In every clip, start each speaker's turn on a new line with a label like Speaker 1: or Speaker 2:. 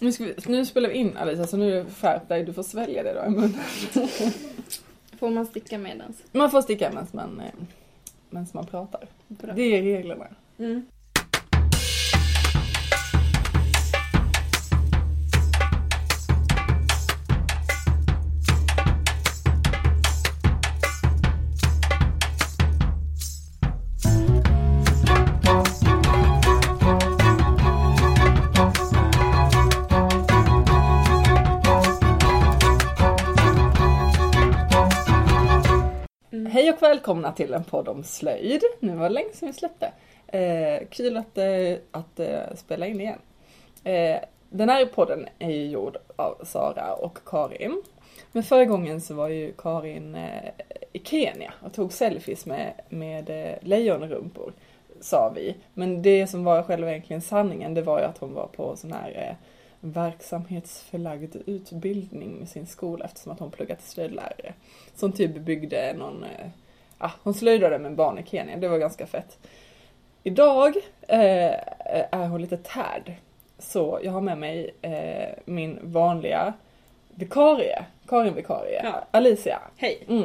Speaker 1: Nu, ska vi, nu spelar vi in Alice, så nu skärp dig. Du får svälja det då i munnen.
Speaker 2: Får man sticka medans?
Speaker 1: Man får sticka medan man, eh, medan man pratar.
Speaker 2: Bra.
Speaker 1: Det är reglerna.
Speaker 2: Mm. Mm.
Speaker 1: Hej och välkomna till en podd om slöjd. Nu var det länge sedan vi släppte. Eh, kul att, eh, att eh, spela in igen. Eh, den här podden är ju gjord av Sara och Karin. Men förra gången så var ju Karin eh, i Kenya och tog selfies med, med eh, lejonrumpor. Sa vi. Men det som var själva egentligen sanningen det var ju att hon var på sån här eh, verksamhetsförlagd utbildning med sin skola eftersom att hon pluggat till slöjdlärare. Som typ byggde någon, eh, ah, hon slöjdade med barn i Kenya, det var ganska fett. Idag eh, är hon lite tärd. Så jag har med mig eh, min vanliga vikarie, Karin vikarie,
Speaker 2: Ja.
Speaker 1: Alicia.
Speaker 2: Hej.
Speaker 1: Mm.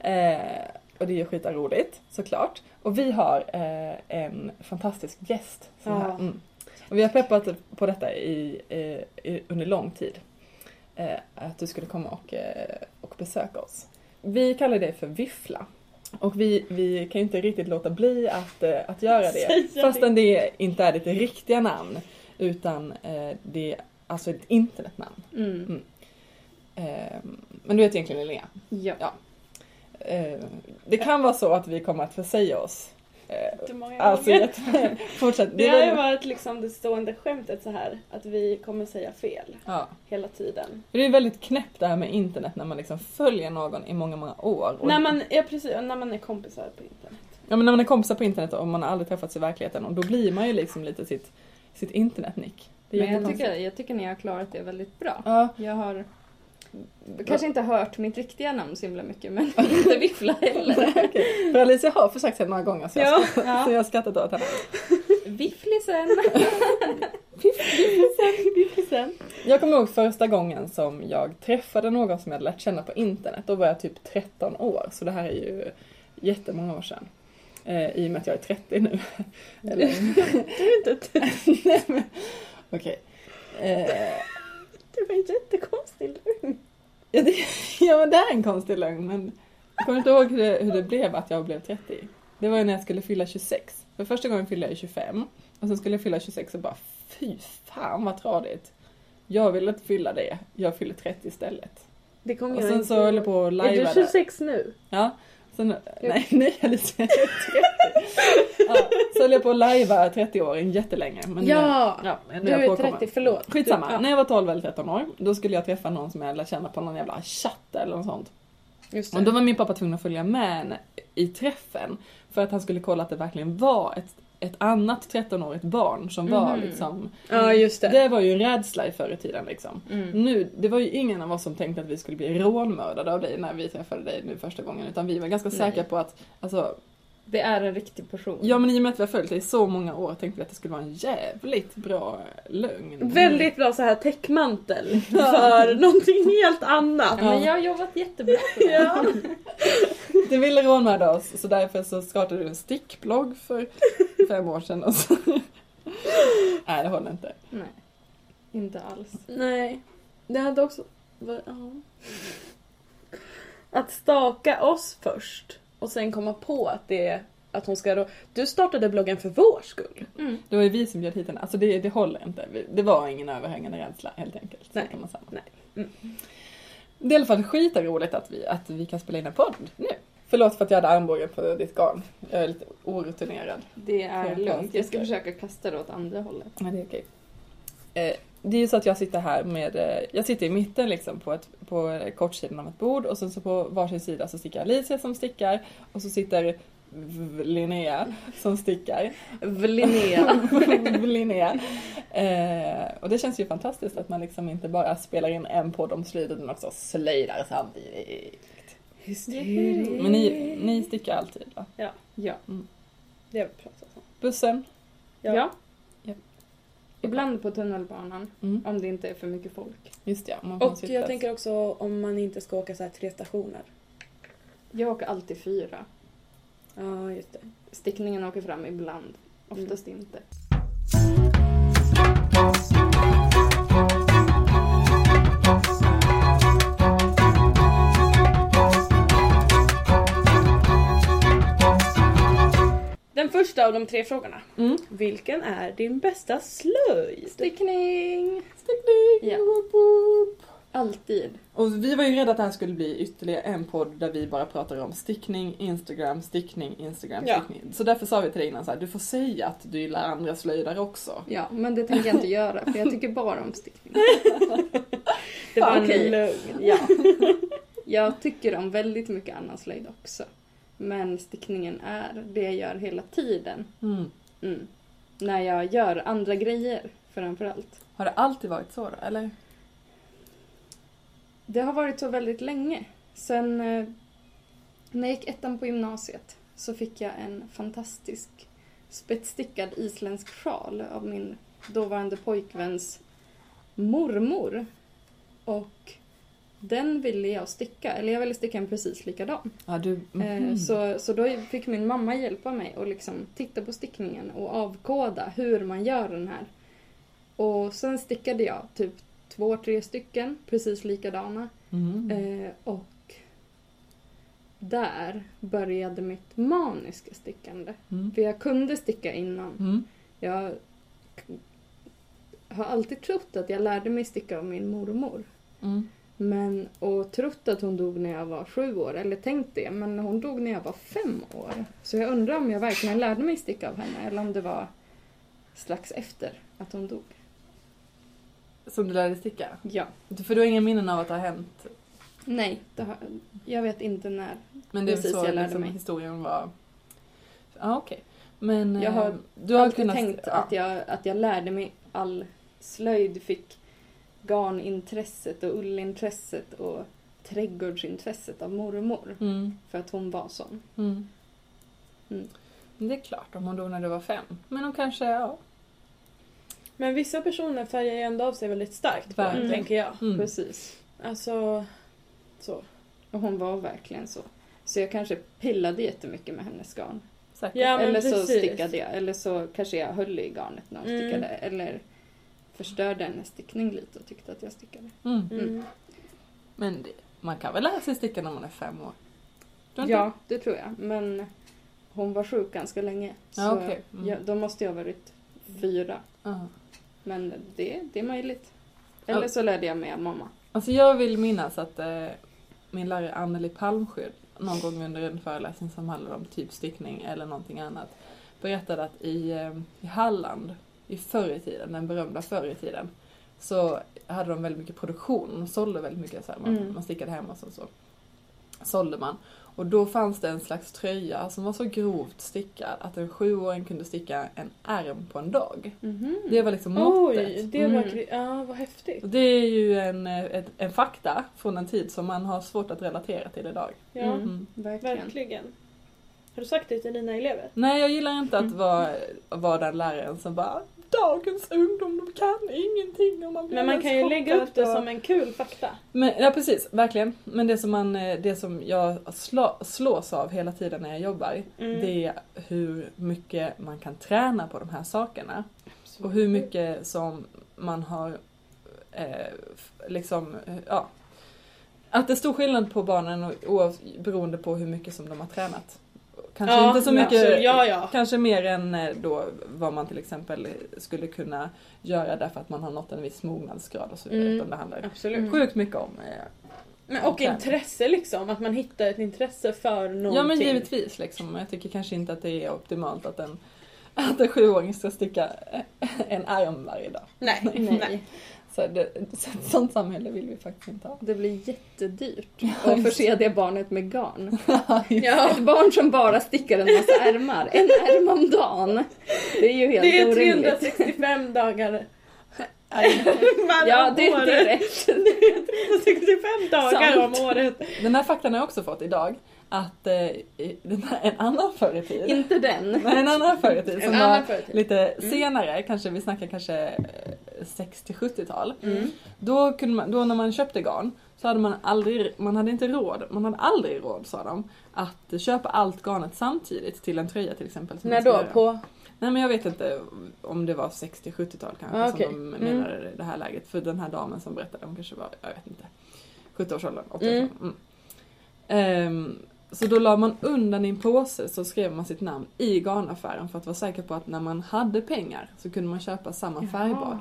Speaker 1: Eh, och det är ju skitaroligt såklart. Och vi har eh, en fantastisk gäst. Som är
Speaker 2: Ja.
Speaker 1: här. Mm. Och vi har peppat på detta i, eh, i, under lång tid. Eh, att du skulle komma och, eh, och besöka oss. Vi kallar det för Viffla. Och vi, vi kan ju inte riktigt låta bli att, eh, att göra det.
Speaker 2: Säga
Speaker 1: Fastän det inte är ditt riktiga namn. Utan eh, det är alltså ett internetnamn.
Speaker 2: Mm.
Speaker 1: Eh, men du heter egentligen Linnea.
Speaker 2: Ja.
Speaker 1: Ja. Eh, det kan vara så att vi kommer att försäga oss. Eh,
Speaker 2: Jättemånga
Speaker 1: alltså
Speaker 2: gånger.
Speaker 1: jätte- fortsätt.
Speaker 2: Det
Speaker 1: är
Speaker 2: har ju
Speaker 1: väl-
Speaker 2: varit liksom det stående skämtet så här att vi kommer säga fel
Speaker 1: Ja.
Speaker 2: hela tiden.
Speaker 1: För Det är väldigt knäppt det här med internet när man liksom följer någon i många, många år. Och-
Speaker 2: När man, ja, precis, och när man är kompisar på internet.
Speaker 1: ja, men när man är kompisar på internet och man har aldrig träffats i verkligheten och då blir man ju liksom lite sitt, sitt internetnick. Det är
Speaker 3: Men jag
Speaker 1: jättekonstigt.
Speaker 3: tycker, jag tycker ni har klarat det väldigt bra.
Speaker 1: Ja,
Speaker 3: Jag har kanske inte hört mitt riktiga namn så himla mycket men inte Viffla heller.
Speaker 1: okej. För Alicia har försökt säga några gånger så jag,
Speaker 3: Ja,
Speaker 1: så
Speaker 2: Ja.
Speaker 1: jag har skrattat åt henne.
Speaker 3: Vifflisen!
Speaker 2: Sen.
Speaker 1: Jag kommer ihåg första gången som jag träffade någon som jag hade lärt känna på internet. Då var jag typ 13 år, så det här är ju jättemånga år sedan. Eh, I och med att jag är 30 nu. Eller...
Speaker 2: Mm. Du är inte
Speaker 1: Nej, men- Okej. Eh,
Speaker 2: Det var en jättekonstig lögn.
Speaker 1: ja, det, ja men det är en konstig lögn men jag kommer inte ihåg hur det, hur det blev att jag blev 30. Det var ju när jag skulle fylla 26. För första gången fyllde jag 25 och sen skulle jag fylla 26 och bara fy fan vad tradigt. Jag vill inte fylla det, jag fyller 30 istället.
Speaker 2: Det kommer
Speaker 1: Och
Speaker 2: jag
Speaker 1: sen
Speaker 2: inte
Speaker 1: så höll jag
Speaker 2: ihåg.
Speaker 1: på och
Speaker 2: Är du
Speaker 1: lajvade.
Speaker 2: 26 nu?
Speaker 1: Ja. Sen, nej, nej Alice, jag är 30. Ja, så höll jag på att lajva 30-åringen jättelänge. Men
Speaker 2: Ja,
Speaker 1: eh, ja men
Speaker 2: Du
Speaker 1: jag
Speaker 2: är
Speaker 1: påkommer.
Speaker 2: 30, förlåt.
Speaker 1: Skitsamma,
Speaker 2: Du, ja.
Speaker 1: när jag var 12 eller 13 år då skulle jag träffa någon som jag lärde känna på någon jävla chatt eller något sånt.
Speaker 2: Just
Speaker 1: Och då var min pappa tvungen att följa med en i träffen för att han skulle kolla att det verkligen var ett, ett annat 13-årigt barn som var
Speaker 2: Mm.
Speaker 3: Mhm.
Speaker 1: liksom...
Speaker 2: Ja, just det.
Speaker 1: Det var ju en rädsla i förr i tiden liksom.
Speaker 3: Mm.
Speaker 1: Nu, det var ju ingen av oss som tänkte att vi skulle bli rånmördade av dig när vi träffade dig nu första gången utan vi var ganska
Speaker 3: Nej.
Speaker 1: säkra på att, alltså,
Speaker 3: Det är en riktig person.
Speaker 1: ja men i och med att vi har följt dig i så många år tänkte vi att det skulle vara en jävligt bra lögn.
Speaker 2: Väldigt bra så här täckmantel för någonting helt annat.
Speaker 3: Men jag har jobbat jättebra på det.
Speaker 2: Ja.
Speaker 1: Du ville rånmörda oss så därför så startade du en stickblogg för fem år sedan och så... Nej det håller inte.
Speaker 3: Nej, inte alls.
Speaker 2: Nej. Det hade också... va- Ja. Att staka oss först och sen komma på att det är att hon ska... Då, du startade bloggen för vår skull.
Speaker 3: Mm.
Speaker 1: Det var ju vi som bjöd hit henne, alltså det, det håller inte. Vi- Det var ingen överhängande rädsla helt enkelt. Så
Speaker 2: Nej.
Speaker 1: kan man säga.
Speaker 2: Nej.
Speaker 1: Mm. Det är i alla fall skitroligt att vi, att vi kan spela in en podd nu. Förlåt för att jag hade armbågen på ditt garn. Jag är lite orutinerad.
Speaker 3: Det är
Speaker 1: Ja,
Speaker 3: lugnt. Jag ska
Speaker 1: det.
Speaker 3: försöka kasta det åt andra hållet.
Speaker 1: Men det är okej. Eh, det är ju så att jag sitter här med, eh, jag sitter i mitten liksom på, ett, på eh, kortsidan av ett bord och sen så på varsin sida så stickar Alicia som stickar och så sitter V- Linnea som stickar.
Speaker 3: Linnea.
Speaker 1: Linnea. Eh, och det känns ju fantastiskt att man liksom inte bara spelar in en podd om slöjd utan också slöjdar samtidigt.
Speaker 3: Hysterisk.
Speaker 1: Men ni, ni stickar alltid va?
Speaker 3: Ja.
Speaker 2: Det har vi pratat om.
Speaker 1: Bussen?
Speaker 3: ja. Ibland på tunnelbanan,
Speaker 1: Mm.
Speaker 3: om det inte är för mycket folk.
Speaker 1: Just ja, man får en
Speaker 2: Och jag
Speaker 1: sittplats.
Speaker 2: tänker också om man inte ska åka så här tre stationer.
Speaker 3: Jag åker alltid fyra.
Speaker 2: Ja, just det.
Speaker 3: Stickningen åker fram ibland, oftast inte.
Speaker 2: Den första av de tre frågorna.
Speaker 1: Mm.
Speaker 2: Vilken är din bästa slöjd?
Speaker 3: Stickning!
Speaker 1: Stickning!
Speaker 3: Ja.
Speaker 1: Woop woop.
Speaker 3: Alltid.
Speaker 1: Och vi var ju rädda att det här skulle bli ytterligare en podd där vi bara pratar om stickning, Instagram, stickning, Instagram,
Speaker 2: Ja.
Speaker 1: stickning. Så därför sa vi till dig innan så här, du får säga att du gillar andra slöjdare också.
Speaker 3: Ja, men det tänker jag inte göra för jag tycker bara om stickning.
Speaker 2: Det var
Speaker 3: Okej.
Speaker 2: en lögn. Ja.
Speaker 3: Jag tycker om väldigt mycket annan slöjd också. Men stickningen är det jag gör hela tiden.
Speaker 1: Mm.
Speaker 3: Mm. När jag gör andra grejer framförallt.
Speaker 1: Har det alltid varit så då, eller?
Speaker 3: Det har varit så väldigt länge. Sen eh, när jag gick ettan på gymnasiet så fick jag en fantastisk spetsstickad isländsk sjal av min dåvarande pojkväns mormor. Och den ville jag sticka, eller jag ville sticka en precis likadan.
Speaker 1: Ja, du...
Speaker 3: Eh,
Speaker 1: Mhm.
Speaker 3: Så, så då fick min mamma hjälpa mig och liksom titta på stickningen och avkoda hur man gör den här. Och sen stickade jag typ två, tre stycken precis likadana.
Speaker 1: Mm.
Speaker 3: Eh, och där började mitt maniska stickande.
Speaker 1: Mm.
Speaker 3: För jag kunde sticka innan.
Speaker 1: Mm.
Speaker 3: Jag k- har alltid trott att jag lärde mig sticka av min mormor.
Speaker 1: Mm.
Speaker 3: Men, och trott att hon dog när jag var sju år, eller tänkt det, men hon dog när jag var fem år. Så jag undrar om jag verkligen lärde mig sticka av henne eller om det var strax efter att hon dog.
Speaker 1: Som du lärde dig sticka?
Speaker 3: Ja.
Speaker 1: För du har inga minnen av att det har hänt?
Speaker 3: Nej, det har, jag vet inte när.
Speaker 1: Men det är väl
Speaker 3: Precis,
Speaker 1: så
Speaker 3: jag lärde
Speaker 1: liksom,
Speaker 3: mig.
Speaker 1: historien var... Ja, okej. Men
Speaker 3: Jag har
Speaker 1: eh, du
Speaker 3: Jag har
Speaker 1: har
Speaker 3: alltid
Speaker 1: kunnat...
Speaker 3: tänkt
Speaker 1: ja.
Speaker 3: att, jag, att jag lärde mig all slöjd, fick garnintresset och ullintresset och trädgårdsintresset av mormor.
Speaker 1: Mm.
Speaker 3: För att hon var sån.
Speaker 1: Mm.
Speaker 3: Mm.
Speaker 1: Men Det är klart, om hon dog när du var fem. Men hon kanske, ja.
Speaker 2: Men vissa personer färgar ju ändå av sig väldigt starkt på en,
Speaker 1: Verkligen.
Speaker 2: tänker jag.
Speaker 1: Mm.
Speaker 3: Precis.
Speaker 2: Alltså, så.
Speaker 3: Och hon var verkligen så. Så jag kanske pillade jättemycket med hennes garn.
Speaker 1: Säkert.
Speaker 2: Ja, men
Speaker 3: eller så
Speaker 2: precis.
Speaker 3: stickade jag. Eller så kanske jag höll i garnet när hon
Speaker 2: Mm.
Speaker 3: stickade. Eller förstörde hennes stickning lite och tyckte att jag stickade.
Speaker 1: Mm.
Speaker 2: Mm.
Speaker 1: Men det, man kan väl lära sig sticka när man är fem år? Tror du
Speaker 3: Ja, det tror jag. Men hon var sjuk ganska länge. Så
Speaker 1: Ja, okej. Mm.
Speaker 3: jag, då måste jag ha varit fyra.
Speaker 1: inte? Ja.
Speaker 3: Men det, det är möjligt. Eller
Speaker 1: Ja.
Speaker 3: så lärde jag mig av mamma.
Speaker 1: Alltså jag vill minnas att eh, min lärare Anneli Palmsjö någon gång under en föreläsning som handlade om typstickning eller någonting annat berättade att i, eh, i Halland, i förr i tiden, den berömda förr i tiden, så hade de väldigt mycket produktion. De sålde väldigt mycket, så här, man,
Speaker 2: Mm.
Speaker 1: man stickade hemma och så, så sålde man. Och då fanns det en slags tröja som var så grovt stickad att en sjuåring kunde sticka en ärm på en dag. Det var liksom måttet.
Speaker 2: Mm. Oj, det var...
Speaker 3: Mm.
Speaker 2: kri- Ja, vad häftigt.
Speaker 1: Och Det är ju en, eh, ett, en fakta från en tid som man har svårt att relatera till idag.
Speaker 2: Ja,
Speaker 3: Mm.
Speaker 1: Mm.
Speaker 3: Verkligen.
Speaker 2: verkligen. Har du sagt det till dina elever?
Speaker 1: Nej, jag gillar inte
Speaker 2: Mm.
Speaker 1: att vara, vara den läraren som bara Dagens ungdom, de kan ingenting. Och man blir
Speaker 2: Men man
Speaker 1: alldeles
Speaker 2: kan ju lägga upp
Speaker 1: chockad
Speaker 2: det
Speaker 1: och-
Speaker 2: som en kul fakta.
Speaker 1: Men, ja precis, verkligen. Men det som, man, eh, det som jag slå, slås av hela tiden när jag jobbar
Speaker 2: Mm.
Speaker 1: det är hur mycket man kan träna på de här sakerna. Och hur mycket som man har eh, f- liksom, eh, ja. Att det är stor skillnad på barnen och, oav, beroende på hur mycket som de har tränat. Kanske
Speaker 2: ja,
Speaker 1: inte så mycket,
Speaker 2: absolut. Ja, ja.
Speaker 1: kanske mer än eh, då vad man till exempel skulle kunna göra därför att man har nått en viss mognadsgrad och så vidare.
Speaker 2: Mm.
Speaker 1: Utan det handlar
Speaker 2: Absolut.
Speaker 3: Mm.
Speaker 1: sjukt mycket om eh,
Speaker 2: Men, och
Speaker 1: Okej.
Speaker 2: intresse liksom, att man hittar ett intresse för någonting.
Speaker 1: Ja men givetvis liksom. Men Jag tycker kanske inte att det är optimalt att en, att en sjuåring ska sticka en arm varje dag.
Speaker 2: Nej, nej.
Speaker 3: Nej,
Speaker 1: Så det, så ett sånt samhälle vill vi faktiskt inte ha.
Speaker 3: det blir jättedyrt att förse det barnet med garn.
Speaker 2: Ja,
Speaker 3: Ett barn som bara stickar en massa ärmar, en ärm om dagen. Det är ju helt
Speaker 2: det är
Speaker 3: orimligt.
Speaker 2: 365 dagar
Speaker 1: Nej.
Speaker 2: mellan
Speaker 3: Ja, det, det är
Speaker 2: åren.
Speaker 3: rätt.
Speaker 2: 365 dagar
Speaker 1: Sant.
Speaker 2: om året.
Speaker 1: Den här faktan har jag också fått idag. Att eh, i- den här, en annan förr i tiden.
Speaker 3: Inte den.
Speaker 1: Nej, en annan förr i tiden som
Speaker 2: En
Speaker 1: var
Speaker 2: annan Mm. förutsättning.
Speaker 1: lite senare, kanske vi snackar kanske eh, 60-70-tal.
Speaker 2: Mm.
Speaker 1: Då, kunde man, då när man köpte garn så hade man aldrig, man hade inte råd, man hade aldrig råd sa de, att köpa allt garnet samtidigt till en tröja till exempel. som
Speaker 2: När
Speaker 1: man ska
Speaker 2: då?
Speaker 1: göra.
Speaker 2: På...
Speaker 1: Nej men jag vet inte om det var 60-70-tal kanske
Speaker 2: Ah, okej.
Speaker 1: som de
Speaker 2: Mm.
Speaker 1: menade det- det här läget. För den här damen som berättade, hon kanske var, jag vet inte, 70-årsåldern, 80
Speaker 2: Mm.
Speaker 1: mm. mm. Ehm, Så då la man undan i en påse så skrev man sitt namn i garnaffären för att vara säker på att när man hade pengar så kunde man köpa samma färgblad.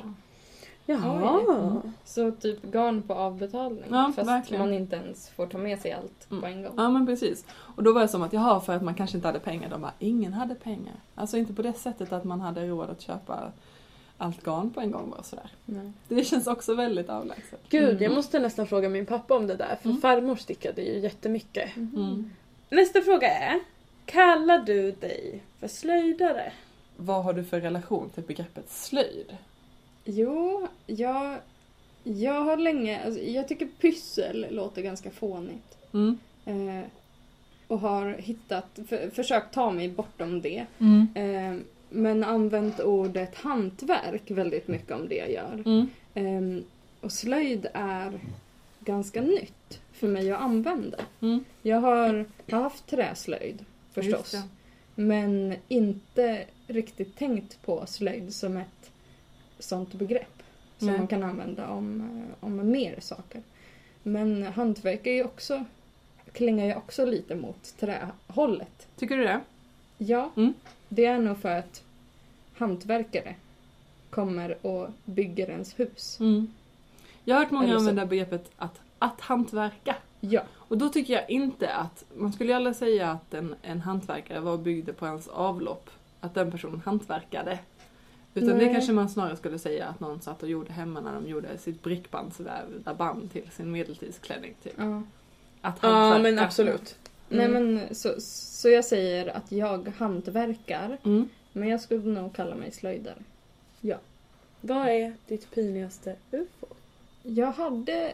Speaker 2: Jaha.
Speaker 1: Oj.
Speaker 3: Så typ garn på avbetalning.
Speaker 1: Ja,
Speaker 3: fast
Speaker 1: verkligen.
Speaker 3: man inte ens får ta med sig allt
Speaker 1: Mm.
Speaker 3: på en gång.
Speaker 1: Ja men precis. Och då var det som att jaha för att man kanske inte hade pengar. De bara ingen hade pengar. Alltså inte på det sättet att man hade råd att köpa allt garn på en gång bara sådär. Det känns också väldigt avlägset.
Speaker 2: Gud, jag
Speaker 1: Mm.
Speaker 2: måste nästan fråga min pappa om det där för
Speaker 1: Mm.
Speaker 2: farmor stickade ju jättemycket.
Speaker 3: Mhm.
Speaker 1: Mm.
Speaker 2: Nästa fråga är, kallar du dig för slöjdare?
Speaker 1: Vad har du för relation till begreppet slöjd?
Speaker 3: Jo, jag, jag har länge... Alltså, jag tycker pyssel låter ganska fånigt.
Speaker 1: Mm.
Speaker 3: Eh, och har hittat, för, försökt ta mig bortom det.
Speaker 1: Mm.
Speaker 3: Eh, men använt ordet hantverk väldigt mycket om det jag gör.
Speaker 1: Mm.
Speaker 3: Ehm, och slöjd är ganska nytt för mig att använda.
Speaker 1: Mm.
Speaker 3: Jag har jag har haft träslöjd förstås. Men inte riktigt tänkt på slöjd som ett sånt begrepp. Som
Speaker 1: Nej.
Speaker 3: man kan använda om, eh, om mer saker. Men hantverk är ju också, klingar ju också lite mot trähållet.
Speaker 1: Tycker du det?
Speaker 3: Ja,
Speaker 1: Mm.
Speaker 3: det är nog för att hantverkare kommer och bygger ens hus.
Speaker 1: Mm. Jag har hört många
Speaker 3: Eller så-
Speaker 1: använda begreppet att, att hantverka.
Speaker 3: Ja,
Speaker 1: Och då tycker jag inte att, man skulle ju aldrig säga att en, en hantverkare var och byggde på ens avlopp. Att den personen hantverkade. Utan det
Speaker 3: Nej.
Speaker 1: kanske man snarare skulle säga att någon satt och gjorde hemma när de gjorde sitt brickbandsvävda band till sin medeltidsklänning. Typ.
Speaker 3: ja.
Speaker 1: Att
Speaker 2: Alltså, Ja,
Speaker 1: hantverka.
Speaker 2: men absolut.
Speaker 3: Nej
Speaker 1: Mm.
Speaker 3: men så, så jag säger att jag hantverkar.
Speaker 1: Mm.
Speaker 3: Men jag skulle nog kalla mig slöjdare.
Speaker 2: Vad är ditt pinigaste UFO?
Speaker 3: Jag hade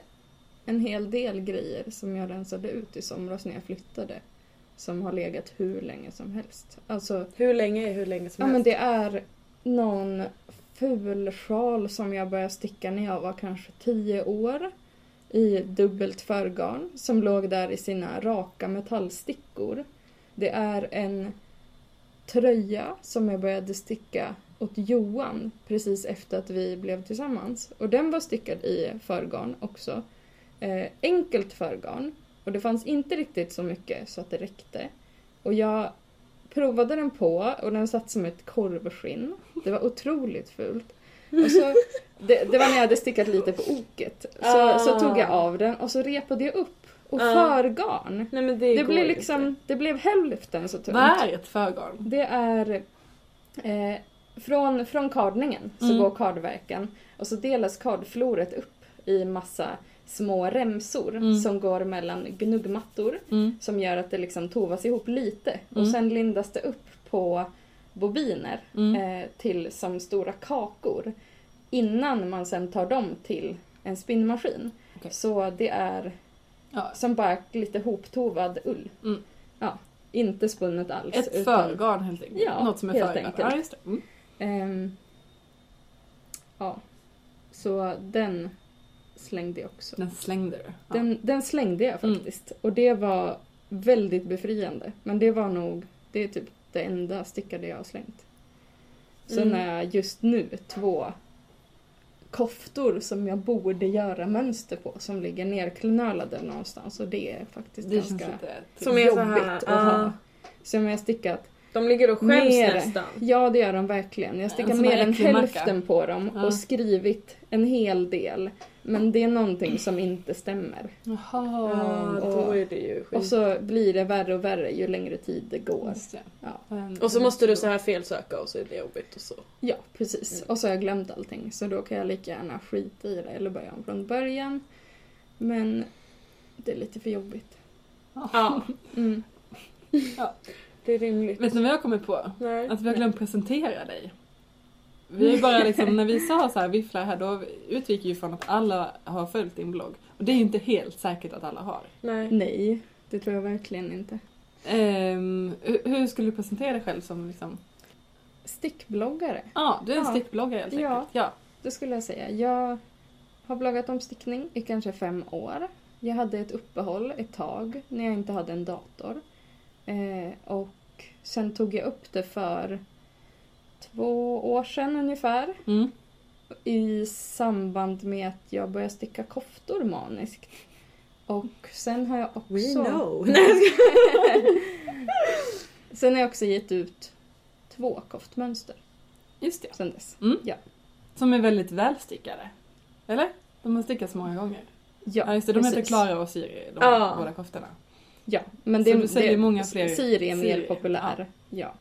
Speaker 3: en hel del grejer som jag rensade ut i somras när jag flyttade. Som har legat hur länge som helst. Alltså,
Speaker 2: Hur länge är hur länge som
Speaker 3: ja
Speaker 2: helst?
Speaker 3: men det är någon ful sjal som jag började sticka när jag var kanske tio år. I dubbelt förgarn som låg där i sina raka metallstickor. Det är en tröja som jag började sticka åt Johan precis efter att vi blev tillsammans. Och den var stickad i förgarn också. Eh, enkelt förgarn. Och det fanns inte riktigt så mycket så att det räckte. Och jag provade den på och den satt som ett korvskinn. Det var otroligt fult. Och så, det, det var när jag hade stickat lite på oket. Så,
Speaker 2: Ah.
Speaker 3: så tog jag av den och så repade jag upp. Och
Speaker 2: Ah.
Speaker 3: förgarn.
Speaker 2: Nej, men
Speaker 3: Det,
Speaker 2: det går
Speaker 3: blev
Speaker 2: ju
Speaker 3: liksom,
Speaker 2: inte.
Speaker 3: det blev hälften så
Speaker 2: Typ.
Speaker 3: tungt.
Speaker 1: Vad är ett förgarn?
Speaker 3: Det är eh, från, från kardningen så
Speaker 1: Mm.
Speaker 3: går kardverken och så delas kardfloret upp i massa små remsor
Speaker 1: Mm.
Speaker 3: som går mellan gnuggmattor
Speaker 1: Mm.
Speaker 3: som gör att det liksom tovas ihop lite och
Speaker 1: Mm.
Speaker 3: sen lindas det upp på bobiner
Speaker 1: Mm.
Speaker 3: eh, till som stora kakor innan man sen tar dem till en spinnmaskin.
Speaker 1: Okej.
Speaker 3: Så det är
Speaker 1: Ja,
Speaker 3: som bara lite hoptovad ull.
Speaker 1: Mm.
Speaker 3: Ja, inte spunnet alls.
Speaker 1: Ett
Speaker 3: utan-
Speaker 1: förgarn helt enkelt.
Speaker 3: Ja,
Speaker 1: Något som är
Speaker 3: helt
Speaker 1: förgarn.
Speaker 3: enkelt.
Speaker 1: Ja, just det. Mm.
Speaker 3: Ehm, ja. Så den slängde jag också.
Speaker 1: Den slängde du. Ja.
Speaker 3: Den, den slängde jag
Speaker 1: Mm.
Speaker 3: faktiskt. Och det var väldigt befriande. Men det var nog, det är typ det enda stickade jag har slängt. Sen
Speaker 2: Mm.
Speaker 3: är just nu två koftor som jag borde göra mönster på som ligger nerknölade någonstans och det är faktiskt
Speaker 1: det
Speaker 3: ganska
Speaker 1: känns lite...
Speaker 2: Som är så här,
Speaker 3: jobbigt att
Speaker 2: ah.
Speaker 3: ha. Som jag stickat
Speaker 2: De ligger och skäms
Speaker 3: Mer.
Speaker 2: nästan.
Speaker 3: Ja, det gör de verkligen. Jag stickar
Speaker 1: En sån
Speaker 3: mer
Speaker 1: här
Speaker 3: än
Speaker 1: äcklig macka.
Speaker 3: hälften på dem
Speaker 1: Ja.
Speaker 3: och skrivit en hel del. Men det är någonting som inte stämmer.
Speaker 1: Jaha.
Speaker 2: Ja, då är det ju skit.
Speaker 3: Och så blir det värre och värre ju längre tid det går.
Speaker 1: Just det.
Speaker 3: Ja.
Speaker 1: Men-
Speaker 2: Och så måste du så här felsöka och så är det jobbigt och så.
Speaker 3: Ja, precis.
Speaker 1: Mm.
Speaker 3: Och så har jag glömt allting så då kan jag lika gärna skita i det eller börja om från början. Men det är lite för jobbigt.
Speaker 2: Ja,
Speaker 3: Mm.
Speaker 2: det är rimligt.
Speaker 1: Vet ni vad jag kommer på?
Speaker 2: Nej.
Speaker 1: Att vi har glömt presentera dig. Vi är bara liksom, när vi sa så här vifflar här då utgick ju från att alla har följt din blogg. Och det är ju inte helt säkert att alla har.
Speaker 2: Nej.
Speaker 3: Nej, det tror jag verkligen inte.
Speaker 1: Ehm, hur, hur skulle du presentera dig själv som liksom,
Speaker 3: Stickbloggare,
Speaker 1: ja du är en
Speaker 3: Ja.
Speaker 1: stickbloggare helt
Speaker 3: Ja.
Speaker 1: enkelt. Ja.
Speaker 3: det skulle jag säga. Jag har bloggat om stickning i kanske fem år. Jag hade ett uppehåll ett tag när jag inte hade en dator. Eh, och sen tog jag upp det för två år sedan ungefär.
Speaker 1: Mm.
Speaker 3: i samband med att jag började sticka koftor maniskt. Och sen har jag också...
Speaker 2: We know.
Speaker 3: sen har jag också gett ut två koftmönster
Speaker 1: Just det.
Speaker 3: sen dess.
Speaker 1: Som är väldigt välstickade. Eller? De har stickats många gånger.
Speaker 3: Ja,
Speaker 1: just det. De heter
Speaker 3: precis.
Speaker 1: Klara och Siri, de
Speaker 2: Ja.
Speaker 1: båda koftorna.
Speaker 3: Ja, men
Speaker 1: Så
Speaker 3: det,
Speaker 1: du säljer
Speaker 3: det,
Speaker 1: många fler-
Speaker 3: Siri är mer
Speaker 1: Siri,
Speaker 3: populär. Ja.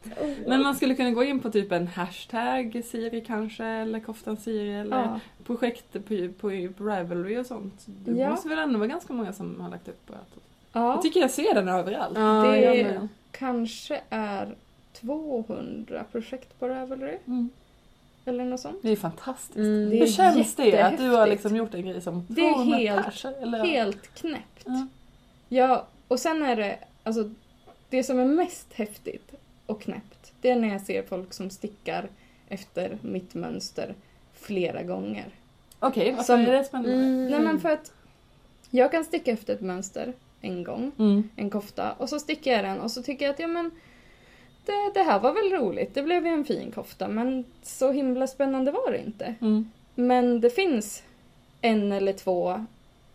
Speaker 1: Men man skulle kunna gå in på typ en hashtag Siri kanske, eller koftan Siri, eller
Speaker 3: Ja.
Speaker 1: projekt på, på, på Ravelry och sånt. Det
Speaker 3: Ja.
Speaker 1: måste väl ändå vara ganska många som har lagt upp på att... Jag
Speaker 3: ja.
Speaker 1: tycker jag ser den överallt.
Speaker 2: Ja,
Speaker 3: Det-
Speaker 2: jag med.
Speaker 3: Kanske är 200 projekt på Ravelry
Speaker 1: Mm.
Speaker 3: eller något sånt.
Speaker 1: Det är fantastiskt.
Speaker 2: Mm.
Speaker 3: Det
Speaker 1: Hur
Speaker 3: är
Speaker 1: känns det att du har
Speaker 3: jättehäftigt.
Speaker 1: liksom gjort en grej som
Speaker 3: Det är
Speaker 1: 200
Speaker 3: helt-
Speaker 1: pers? Eller?
Speaker 3: Helt knäppt.
Speaker 1: Ja.
Speaker 3: Ja, och sen är det, alltså det som är mest häftigt och knäppt, det är när jag ser folk som stickar efter mitt mönster flera gånger.
Speaker 1: Okej, varför
Speaker 3: Som- Mm.
Speaker 1: är det spännande?
Speaker 3: Nej
Speaker 1: Mm.
Speaker 3: men för att jag kan sticka efter ett mönster en gång,
Speaker 1: Mm.
Speaker 3: en kofta, och så stickar jag den och så tycker jag att ja men det, det här var väl roligt, det blev ju en fin kofta men så himla spännande var det inte.
Speaker 1: Mm.
Speaker 3: Men det finns en eller två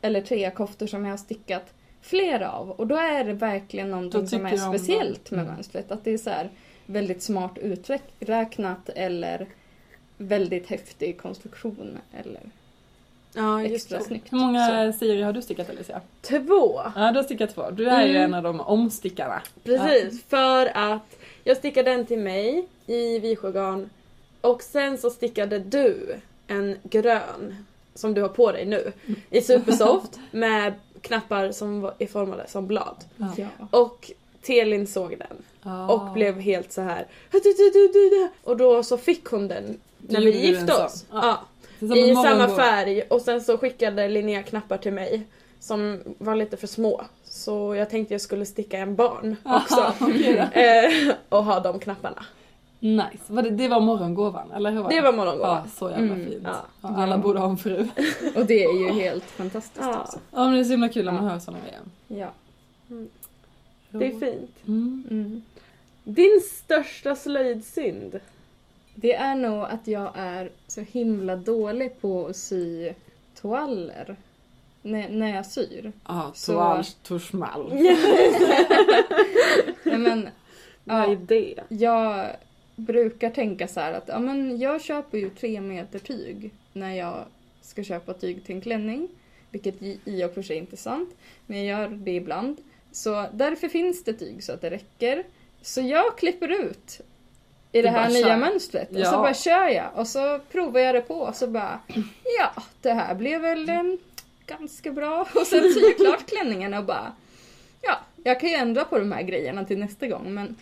Speaker 3: eller tre koftor som jag har stickat flera av och då är det verkligen
Speaker 1: Då
Speaker 3: någonting som
Speaker 1: tycker
Speaker 3: är
Speaker 1: jag om
Speaker 3: speciellt
Speaker 1: det.
Speaker 3: med
Speaker 1: Mm.
Speaker 3: mönstret. Att det är så här väldigt smart uträknat eller väldigt häftig konstruktion eller
Speaker 2: Ja, just
Speaker 3: extra
Speaker 2: det.
Speaker 3: snyggt.
Speaker 1: Hur många Siri har du stickat Alicia?
Speaker 2: Två.
Speaker 1: Ja, du har stickat två. Du är ju
Speaker 2: Mm.
Speaker 1: en av de omstickarna.
Speaker 2: Precis, för att jag stickade den till mig i Visjögarn och sen så stickade du en grön som du har på dig nu i Supersoft med knappar som var- är formade som blad.
Speaker 3: Så,
Speaker 1: Ja.
Speaker 3: ja.
Speaker 2: Och Telin såg den
Speaker 1: Ja.
Speaker 3: Ah.
Speaker 2: och blev helt så här "Du, du, du, du, du." och då så fick hon den när
Speaker 1: gjorde
Speaker 2: vi
Speaker 1: du en
Speaker 2: gifte oss.
Speaker 1: sån. Ja.
Speaker 2: Ja.
Speaker 1: Så som
Speaker 2: I
Speaker 1: en
Speaker 2: samma
Speaker 1: morgongåva.
Speaker 2: färg och sen så skickade Linnea knappar till mig som var lite för små. Så jag tänkte jag skulle sticka en barn också.
Speaker 1: Aha, okej då.
Speaker 2: Eh, och ha de knapparna.
Speaker 1: Nice. Var det, det var morgongåvan, eller hur var det?
Speaker 2: Det var
Speaker 1: Ja,
Speaker 2: morgongåvan.
Speaker 1: så jävla
Speaker 3: Mm,
Speaker 1: fint.
Speaker 2: ja.
Speaker 1: Ja, alla
Speaker 3: Ja.
Speaker 1: borde ha en fru.
Speaker 3: Och det är ju helt fantastiskt
Speaker 2: Ja.
Speaker 3: också.
Speaker 1: Ja, men det är så himla kul när man
Speaker 3: Ja.
Speaker 1: hör sådana grejer.
Speaker 3: Ja.
Speaker 2: Det är fint.
Speaker 1: Mm.
Speaker 3: Mm.
Speaker 2: Din största slöjdsynd?
Speaker 3: Det är nog att jag är så himla dålig på att sy toaller när, när jag syr.
Speaker 1: Ja,
Speaker 3: Så-
Speaker 1: toal, torsmall.
Speaker 3: Nej, men,
Speaker 2: Vad är det?
Speaker 3: Jag brukar tänka så här att ja, men jag köper ju tre meter tyg när jag ska köpa tyg till en klänning. Vilket i i och för sig inte är sant, men jag gör det ibland. Så därför finns det tyg så att det räcker. Så jag klipper ut i
Speaker 1: Du
Speaker 3: det här
Speaker 1: bara
Speaker 3: nya
Speaker 1: kör.
Speaker 3: mönstret och så
Speaker 1: Ja.
Speaker 3: bara kör jag och så provar jag det på och så bara ja, det här blev väl em, ganska bra. Och sen syr jag klart klänningen och bara ja, jag kan ju ändra på de här grejerna till nästa gång men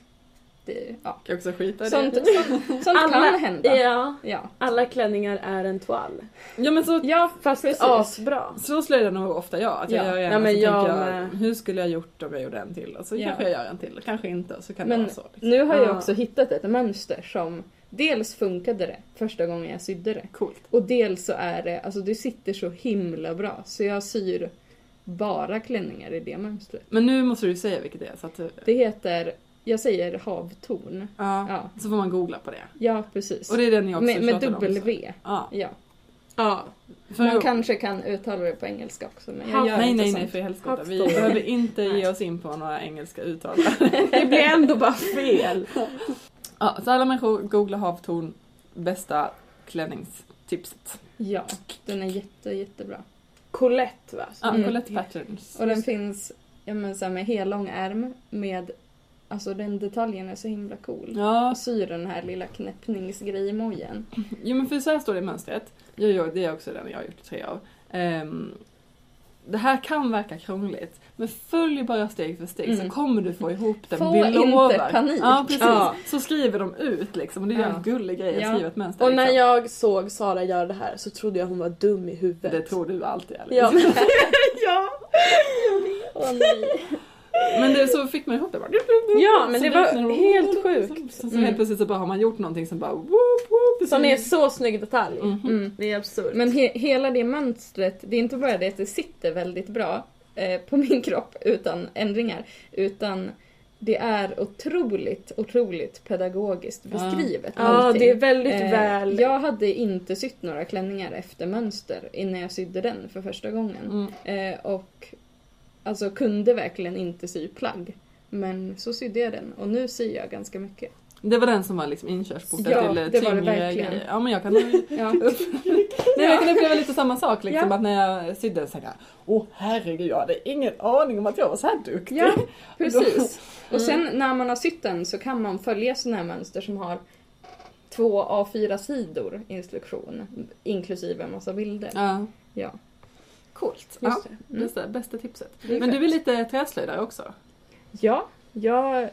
Speaker 3: det, ja.
Speaker 1: Kan också skita i
Speaker 3: Sånt,
Speaker 1: det.
Speaker 3: sånt, sånt kan hända.
Speaker 2: Ja,
Speaker 3: Ja.
Speaker 2: alla klänningar är en toal.
Speaker 1: Ja, men så,
Speaker 3: Ja,
Speaker 2: Fast
Speaker 3: Precis.
Speaker 2: asbra.
Speaker 1: så slår det nog ofta jag. Att jag
Speaker 3: Ja.
Speaker 1: gör en
Speaker 2: Ja,
Speaker 1: och
Speaker 2: men
Speaker 1: så
Speaker 2: jag
Speaker 1: tänker jag,
Speaker 2: med.
Speaker 1: hur skulle jag gjort om jag gjorde en till? Och så
Speaker 3: Ja.
Speaker 1: kanske jag gör en till, kanske inte. Så kan det
Speaker 3: Men-
Speaker 1: vara så. Liksom.
Speaker 3: nu har
Speaker 2: Ja.
Speaker 3: jag också hittat ett mönster som dels funkade det första gången jag sydde det
Speaker 1: Coolt.
Speaker 3: och dels så är det, alltså det sitter så himla bra så jag syr bara klänningar i det mönstret.
Speaker 1: Men nu måste du säga vilket det är. Så, att, eh, du-
Speaker 3: Det heter, jag säger havtorn.
Speaker 1: ja,
Speaker 3: Ja,
Speaker 1: så får man googla på det.
Speaker 3: ja precis.
Speaker 1: Och det är den jag också
Speaker 3: med med
Speaker 1: tjatar om, så.
Speaker 3: W.
Speaker 1: Ja.
Speaker 3: Ja.
Speaker 2: Ja.
Speaker 1: För
Speaker 3: Man kanske kan uttala det på engelska också men jag
Speaker 2: Hav-
Speaker 3: gör
Speaker 1: nej,
Speaker 3: inte
Speaker 1: nej,
Speaker 3: sånt.
Speaker 1: nej för helskotta. Vi
Speaker 2: Havstorm.
Speaker 1: behöver inte ge
Speaker 3: Nej.
Speaker 1: oss in på några engelska uttal.
Speaker 2: Det blir ändå bara fel.
Speaker 1: ja, så alla människor googlar havtorn, bästa klänningstipset.
Speaker 3: Ja, den är jätte, jättebra.
Speaker 2: Colette va?
Speaker 1: Ja,
Speaker 3: Mm.
Speaker 1: Colette Patterns.
Speaker 3: Och den finns ja, men, så här, med hellång ärm med, alltså den detaljen är så himla cool.
Speaker 1: Ja,
Speaker 3: Och syr den här lilla knäppningsgrejemojen.
Speaker 1: Jo men för så här står det i mönstret. Jag gör, det är också den jag har gjort tre av. Ehm, det här kan verka krångligt men följ bara steg för steg
Speaker 2: Mm.
Speaker 1: så kommer du få ihop den.
Speaker 3: Få
Speaker 1: vi
Speaker 3: inte
Speaker 1: lovar.
Speaker 3: panik.
Speaker 1: Ja, precis.
Speaker 2: Ja.
Speaker 1: Så skriver de ut liksom och det är ju
Speaker 3: Ja.
Speaker 1: en gullig grej att
Speaker 3: Ja.
Speaker 1: skriva ett mönster.
Speaker 2: Och när
Speaker 1: liksom.
Speaker 2: jag såg Sara göra det här så trodde jag hon var dum i huvudet.
Speaker 1: Det tror du alltid Alice.
Speaker 2: Ja. men- ja.
Speaker 3: Åh, nej.
Speaker 1: Men det, så fick man ihop det bara.
Speaker 2: ja men
Speaker 1: Så
Speaker 2: det var
Speaker 1: räknar de-
Speaker 2: helt sjukt.
Speaker 1: Så, så
Speaker 2: Mm.
Speaker 1: helt plötsligt så bara har man gjort någonting som bara whoop, whoop,
Speaker 2: Som är så snygg detalj.
Speaker 1: Mhm.
Speaker 3: Mm.
Speaker 2: Det är absurt.
Speaker 3: Men he- hela det mönstret, det är inte bara det att det sitter väldigt bra eh, på min kropp utan ändringar, utan det är otroligt, otroligt pedagogiskt
Speaker 1: Ja.
Speaker 3: beskrivet.
Speaker 2: ja,
Speaker 3: allting.
Speaker 2: det är väldigt
Speaker 3: Eh,
Speaker 2: väl.
Speaker 3: Jag hade inte sytt några klänningar efter mönster innan jag sydde den för första gången.
Speaker 1: Mm.
Speaker 3: Eh, och alltså kunde verkligen inte sy plagg. Men så sydde jag den och nu syr jag ganska mycket.
Speaker 1: Det var den som var liksom inkörsporten
Speaker 3: Ja,
Speaker 1: till eh,
Speaker 3: det var det
Speaker 1: tyngre
Speaker 3: verkligen.
Speaker 1: grejer. Ja men jag kan, nej,
Speaker 3: Ja.
Speaker 1: men jag kan uppleva lite samma sak liksom
Speaker 2: Ja.
Speaker 1: att när jag sydde så här, åh herregud jag hade ingen aning om att jag var så här duktig.
Speaker 3: Ja, precis.
Speaker 1: Mm.
Speaker 3: Och sen när man har sytt den så kan man följa sådana här mönster som har två A4 sidor instruktion inklusive en massa bilder.
Speaker 1: Ja.
Speaker 3: Ja,
Speaker 1: Coolt.
Speaker 3: just
Speaker 1: ja,
Speaker 3: det. Mm.
Speaker 1: just det. Bästa tipset.
Speaker 3: Det är
Speaker 1: Men du är
Speaker 3: skönt.
Speaker 1: lite träslöjdare också?
Speaker 3: Ja, jag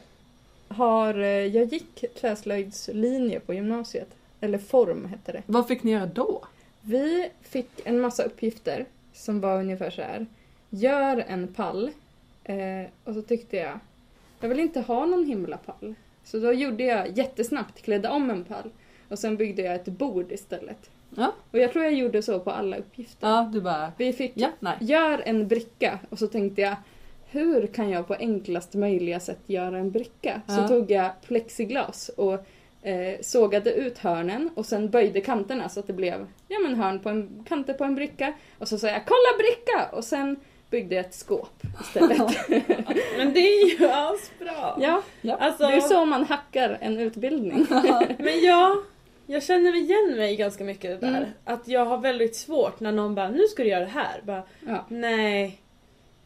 Speaker 3: har, eh, jag gick träslöjdslinje på gymnasiet. Eller form hette det.
Speaker 1: Vad fick ni göra då?
Speaker 3: Vi fick en massa uppgifter som var ungefär så här. Gör en pall. Eh, och så tyckte jag, jag vill inte ha någon himla pall. Så då gjorde jag jättesnabbt, klädde om en pall. Och sen byggde jag ett bord istället.
Speaker 1: Ja.
Speaker 3: Och jag tror jag gjorde så på alla uppgifter.
Speaker 1: Ja, du bara,
Speaker 3: Vi fick,
Speaker 1: ja, nej.
Speaker 3: gör en bricka. Och så tänkte jag, hur kan jag på enklast möjliga sätt göra en bricka? Så
Speaker 1: Ja.
Speaker 3: tog jag plexiglas och eh, sågade ut hörnen och sen böjde kanterna så att det blev ja, men hörn på en, kanter på en bricka. Och så sa jag kolla bricka! Och sen byggde jag ett skåp istället.
Speaker 2: Men det är ju asbra.
Speaker 3: ja,
Speaker 2: Alltså,
Speaker 3: det är så man hackar en utbildning.
Speaker 2: Men ja, jag känner igen mig ganska mycket i det där.
Speaker 3: Mm.
Speaker 2: Att jag har väldigt svårt när någon bara, nu ska du göra det här. Bara,
Speaker 3: Ja,
Speaker 2: nej.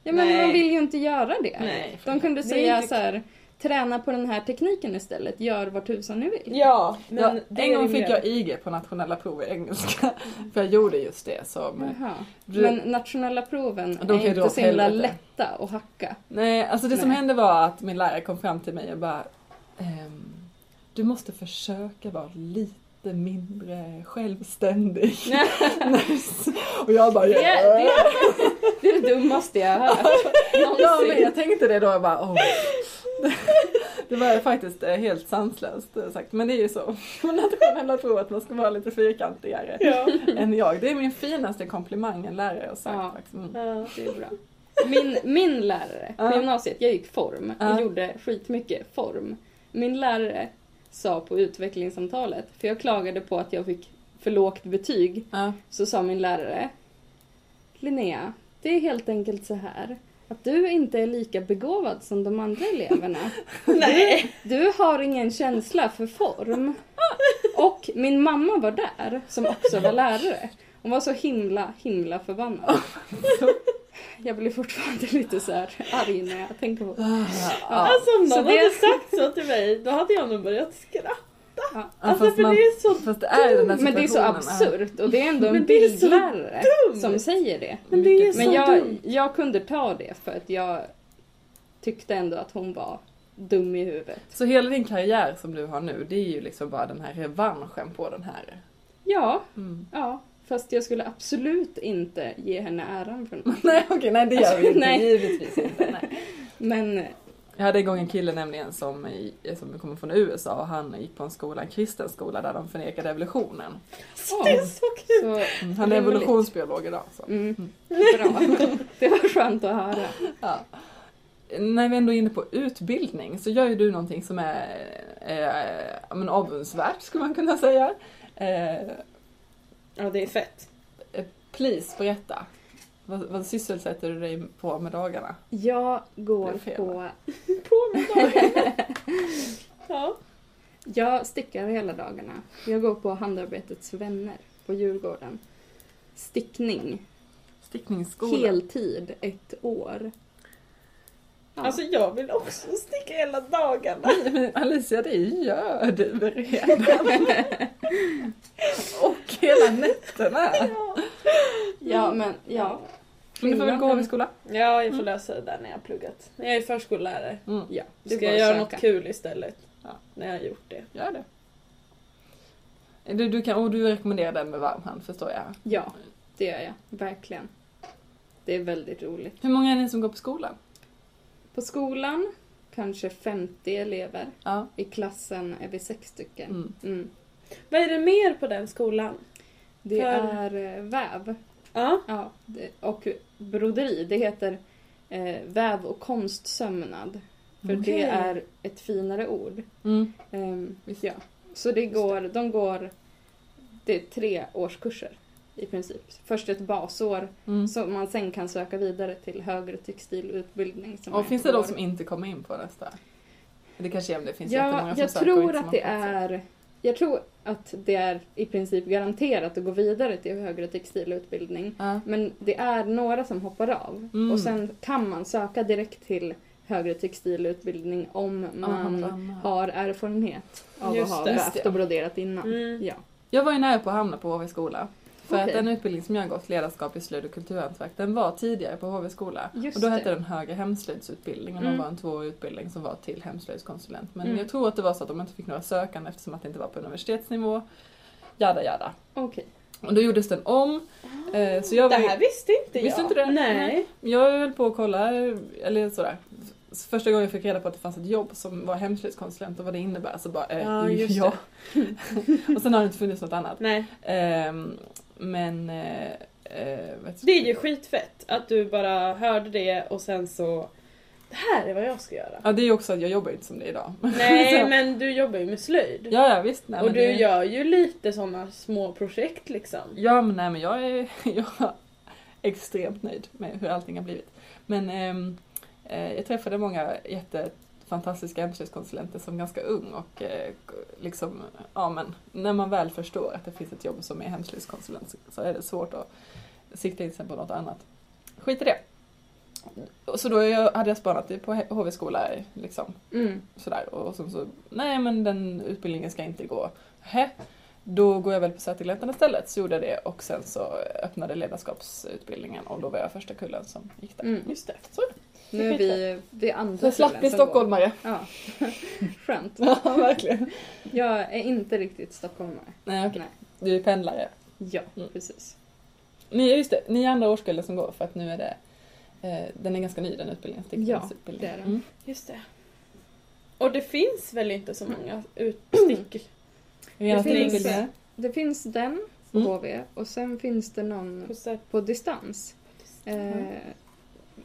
Speaker 3: ja men
Speaker 2: Nej.
Speaker 3: man vill ju inte göra det.
Speaker 2: Nej.
Speaker 3: De kunde
Speaker 2: Det är
Speaker 3: säga
Speaker 2: inte-
Speaker 3: så här, träna på den här tekniken istället, gör vad tusan ni vill.
Speaker 2: Ja, men
Speaker 1: ja,
Speaker 2: det
Speaker 1: en
Speaker 2: är
Speaker 1: gång fick
Speaker 2: rimligare.
Speaker 1: jag IG på nationella prov i engelska. För jag gjorde just det som...
Speaker 3: Jaha.
Speaker 1: Du-
Speaker 3: Mm. Men nationella proven
Speaker 1: Ja, de kan
Speaker 3: är
Speaker 1: ju dra
Speaker 3: inte
Speaker 1: åt
Speaker 3: så himla
Speaker 1: helvete.
Speaker 3: lätta att hacka.
Speaker 1: Nej, alltså det som
Speaker 3: Nej.
Speaker 1: hände var att min lärare kom fram till mig och bara ehm, Du måste försöka vara lite mindre självständig. Nice. och jag bara
Speaker 3: Det,
Speaker 1: yeah.
Speaker 3: det, det är det dummaste jag har hört.
Speaker 1: Ja, men
Speaker 3: någonsin.
Speaker 1: jag tänkte det då jag bara oh. Det var faktiskt eh, helt sanslöst eh, sagt men det är ju så. Man har inte själv tro att man ska vara lite fyrkantigare
Speaker 2: Ja.
Speaker 1: än jag. Det är min finaste komplimang en lärare har sagt.
Speaker 3: Ja.
Speaker 1: faktiskt. Mm.
Speaker 2: Ja.
Speaker 3: Det är bra. Min, min lärare på
Speaker 1: Ja.
Speaker 3: gymnasiet, jag gick form och
Speaker 1: Ja.
Speaker 3: gjorde skitmycket form. Min lärare sa på utvecklingssamtalet, för jag klagade på att jag fick för lågt betyg,
Speaker 1: Ja.
Speaker 3: så sa min lärare Linnea, det är helt enkelt så här att du inte är lika begåvad som de andra eleverna.
Speaker 2: Nej.
Speaker 3: Du har ingen känsla för form. Och min mamma var där, som också var lärare. Hon var så himla, himla förbannad. Jag blir fortfarande lite så här arg när jag tänker på det.
Speaker 1: Ah, ja.
Speaker 2: Alltså om
Speaker 3: Så
Speaker 2: någon
Speaker 3: det-
Speaker 2: hade sagt så till mig, då hade jag nog börjat skratta.
Speaker 3: Ja.
Speaker 2: Alltså
Speaker 1: fast
Speaker 2: för
Speaker 1: man-
Speaker 2: det är så...
Speaker 1: Fast det är ju den här
Speaker 3: Men det är så
Speaker 1: situationen, ja.
Speaker 3: absurt och det är ändå en
Speaker 2: Men det är så
Speaker 3: bildlärare som säger det.
Speaker 2: Men det är
Speaker 1: Mycket.
Speaker 2: så
Speaker 3: Men jag,
Speaker 2: dumt.
Speaker 3: jag kunde ta det för att jag tyckte ändå att hon var dum i huvudet.
Speaker 1: Så hela din karriär som du har nu, det är ju liksom bara den här revanschen på den här.
Speaker 3: Ja,
Speaker 1: Mm.
Speaker 3: ja. Fast jag skulle absolut inte ge henne äran för något.
Speaker 1: Nej okej, nej det gör vi inte,
Speaker 3: Nej.
Speaker 1: givetvis inte. Nej.
Speaker 3: Men
Speaker 1: Jag hade en gång en kille nämligen som, i- som kommer från USA och han gick på en skola, en kristen skola där de förnekade evolutionen.
Speaker 3: ja.
Speaker 2: Det är så kul.
Speaker 3: Så,
Speaker 1: Mm, Han är
Speaker 3: Rimligt.
Speaker 1: evolutionsbiolog idag. Så.
Speaker 3: mm, bra. Det var skönt att höra.
Speaker 1: Ja. När vi ändå är inne på utbildning så gör ju du någonting som är eh, ja, men avundsvärt skulle man kunna säga. Eh,
Speaker 2: Ja, det är fett.
Speaker 1: please berätta. Vad, vad sysselsätter du dig på med dagarna?
Speaker 3: Jag går
Speaker 1: Blev fel,
Speaker 3: på...
Speaker 2: På med dagen. Ja.
Speaker 3: Jag stickar hela dagarna. Jag går på Handarbetets vänner på Djurgården. Stickning.
Speaker 1: Stickningsskola.
Speaker 3: Heltid. Ett år. Ja.
Speaker 2: Alltså jag vill också sticka hela dagarna.
Speaker 1: Men Alicia, det gör du redan. Och hela nätterna.
Speaker 2: Ja.
Speaker 3: ja, men ja.
Speaker 1: Men du får väl gå
Speaker 3: Innan-
Speaker 1: i skola.
Speaker 2: Ja, jag får lösa det där när jag har pluggat. När jag är förskollärare.
Speaker 1: Mm.
Speaker 2: Ja.
Speaker 3: Du
Speaker 2: Ska
Speaker 3: får
Speaker 2: jag göra
Speaker 3: söka.
Speaker 2: något kul istället?
Speaker 1: Ja.
Speaker 2: När jag har gjort det.
Speaker 1: Gör det. Du, du kan, och du rekommenderar den med varm hand förstår jag.
Speaker 3: Ja, det gör jag. Verkligen. Det är väldigt roligt.
Speaker 1: Hur många är ni som går på skolan?
Speaker 3: På skolan kanske 50 elever.
Speaker 1: Ja.
Speaker 3: I klassen är vi sex stycken.
Speaker 1: Mm.
Speaker 3: Mm.
Speaker 2: Vad är det mer på den skolan?
Speaker 3: Det
Speaker 2: För-
Speaker 3: är eh, väv
Speaker 2: Ja.
Speaker 3: ja, det, och broderi. Det heter eh, väv och konstsömnad. För
Speaker 2: Okej.
Speaker 3: det är ett finare ord.
Speaker 1: Mm.
Speaker 3: Ehm,
Speaker 1: Visst.
Speaker 3: ja. Så det går, de går, det är tre årskurser i princip. Först ett basår
Speaker 1: Mm.
Speaker 3: som man sen kan söka vidare till högre textilutbildning. Som är
Speaker 1: Och finns det
Speaker 3: ett
Speaker 1: de
Speaker 3: år.
Speaker 1: som inte kommer in på nästa? Det kanske är om det finns
Speaker 3: Ja,
Speaker 1: jättemånga som
Speaker 3: jag
Speaker 1: söker och
Speaker 3: tror
Speaker 1: inte som
Speaker 3: att det
Speaker 1: har fått sig.
Speaker 3: är jag tror att det är i princip garanterat att gå vidare till högre textilutbildning.
Speaker 1: Ja.
Speaker 3: Men det är några som hoppar av
Speaker 1: Mm.
Speaker 3: och sen kan man söka direkt till högre textilutbildning om man
Speaker 1: Man...
Speaker 3: har erfarenhet av
Speaker 2: Just
Speaker 3: att ha
Speaker 2: det.
Speaker 3: vävt och broderat innan.
Speaker 2: Mm.
Speaker 3: Ja.
Speaker 1: Jag var ju nära på att hamna på HV skola. För att
Speaker 3: Okej.
Speaker 1: den utbildning som jag gått, ledarskap i slöjd och kulturhantverk, den var tidigare på HV skola.
Speaker 3: Just
Speaker 1: och då hette
Speaker 3: det.
Speaker 1: den högre hemslöjdsutbildning och
Speaker 3: Mm.
Speaker 1: den var en tvåårig utbildning som var till hemslöjdskonsulent. Men
Speaker 3: Mm.
Speaker 1: jag tror att det var så att de inte fick några sökande eftersom att det inte var på universitetsnivå. Jada jada.
Speaker 3: Okej.
Speaker 1: Och då gjordes den om. Eh, Så jag
Speaker 2: det
Speaker 1: var ju-
Speaker 2: här visste inte jag.
Speaker 1: Visste inte du det?
Speaker 2: Nej.
Speaker 1: Jag höll på att kolla, eller sådär. Första gången jag fick reda på att det fanns ett jobb som var hemslöjdskonsulent och vad det innebär så bara, eh,
Speaker 2: Ja, just
Speaker 1: ja. och sen har det inte funnits något annat.
Speaker 2: Nej.
Speaker 1: Ehm, men... Eh, eh, vet du-
Speaker 2: Det är ju skitfett att du bara hörde det och sen så... Det här är vad jag ska göra.
Speaker 1: Ja, det är ju också att jag jobbar ju inte som det är idag.
Speaker 2: Nej
Speaker 1: Så-
Speaker 2: men du jobbar ju med slöjd.
Speaker 1: Ja, ja visst. Nej,
Speaker 2: och
Speaker 1: men
Speaker 2: du
Speaker 1: det,
Speaker 2: gör ju lite sådana små projekt liksom.
Speaker 1: Ja, men nej men jag är, jag är extremt nöjd med hur allting har blivit. Men ehm, eh, jag träffade många jättefantastiska hemslöjdskonsulenter som ganska ung och eh, liksom, ja men när man väl förstår att det finns ett jobb som är hemslöjdskonsulent så- så är det svårt att sikta in sig på något annat. Skit i det. Så då jag- hade jag spanat det på HV-skola liksom
Speaker 3: Mm.
Speaker 1: sådär. Och sen så, nej men den utbildningen ska inte gå. Hä? Då går jag väl på Säterlätten istället. Så gjorde jag det och sen så öppnade ledarskapsutbildningen och då var jag första kullen som gick där.
Speaker 3: Mm.
Speaker 2: Just det.
Speaker 3: Nu är vi, det är andra
Speaker 1: Så jag slapp
Speaker 3: killen
Speaker 1: bli
Speaker 3: som går.
Speaker 1: stockholmare.
Speaker 3: Ja. Skönt.
Speaker 1: Ja, verkligen.
Speaker 3: Jag är inte riktigt stockholmare.
Speaker 1: Nej, okej.
Speaker 3: Nej.
Speaker 1: Du är pendlare.
Speaker 3: Ja,
Speaker 1: Mm.
Speaker 3: precis.
Speaker 1: Ni, just det, ni är andra årskullen som går för att nu är det eh, den är ganska ny den utbildningen. stickningsutbildningen.
Speaker 3: det är den.
Speaker 1: Mm.
Speaker 2: Just det. Och det finns väl inte så många utstick?
Speaker 1: Rena
Speaker 3: Det finns-
Speaker 1: stickutbildningar.
Speaker 3: Det finns den på
Speaker 1: Mm.
Speaker 3: HV och sen finns det någon
Speaker 2: på sätt-
Speaker 3: på distans. Eh,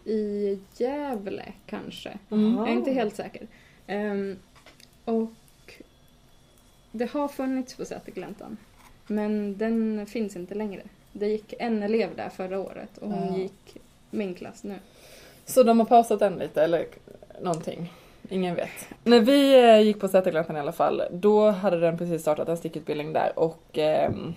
Speaker 3: I Gävle kanske.
Speaker 1: Mm.
Speaker 2: Ja.
Speaker 3: Jag är inte helt säker. Ehm, och det har funnits på Sätergläntan. Men den finns inte längre. Det gick en elev där förra året och hon
Speaker 1: Ja.
Speaker 3: gick min klass nu.
Speaker 1: Så de har pausat den lite eller någonting. Ingen vet. När vi eh, gick på Sätergläntan i alla fall, då hade den precis startat en stickutbildning där och ehm,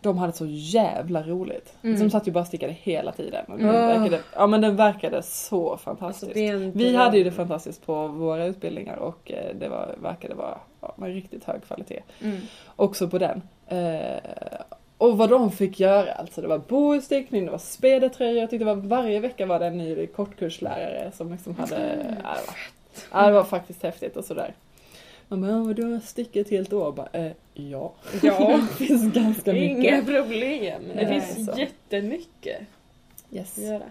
Speaker 1: de hade så jävla roligt.
Speaker 3: Mm.
Speaker 1: De satt ju bara och stickade hela tiden. Och den,
Speaker 2: Mm.
Speaker 1: verkade, ja, men den verkade så fantastisk.
Speaker 2: Alltså, det är en
Speaker 1: vi
Speaker 2: dröm.
Speaker 1: hade ju det fantastiskt på våra utbildningar och eh, det var, verkade vara ja, med riktigt hög kvalitet
Speaker 3: Mm.
Speaker 1: också på den. Eh, och vad de fick göra alltså. Det var bohusstickning, det var spedertröjor. Jag tyckte det var varje vecka var det en ny kortkurslärare som liksom hade... Ja, det, var, ja, det var faktiskt häftigt och sådär. Man bara, "Ja, men du har stickat helt år. Bara, eh, ja.
Speaker 2: Ja.
Speaker 1: det finns ganska
Speaker 2: Inga
Speaker 1: mycket.
Speaker 2: problem. Det
Speaker 1: Nej,
Speaker 2: finns
Speaker 1: så.
Speaker 2: jättemycket
Speaker 1: Yes.
Speaker 2: att göra.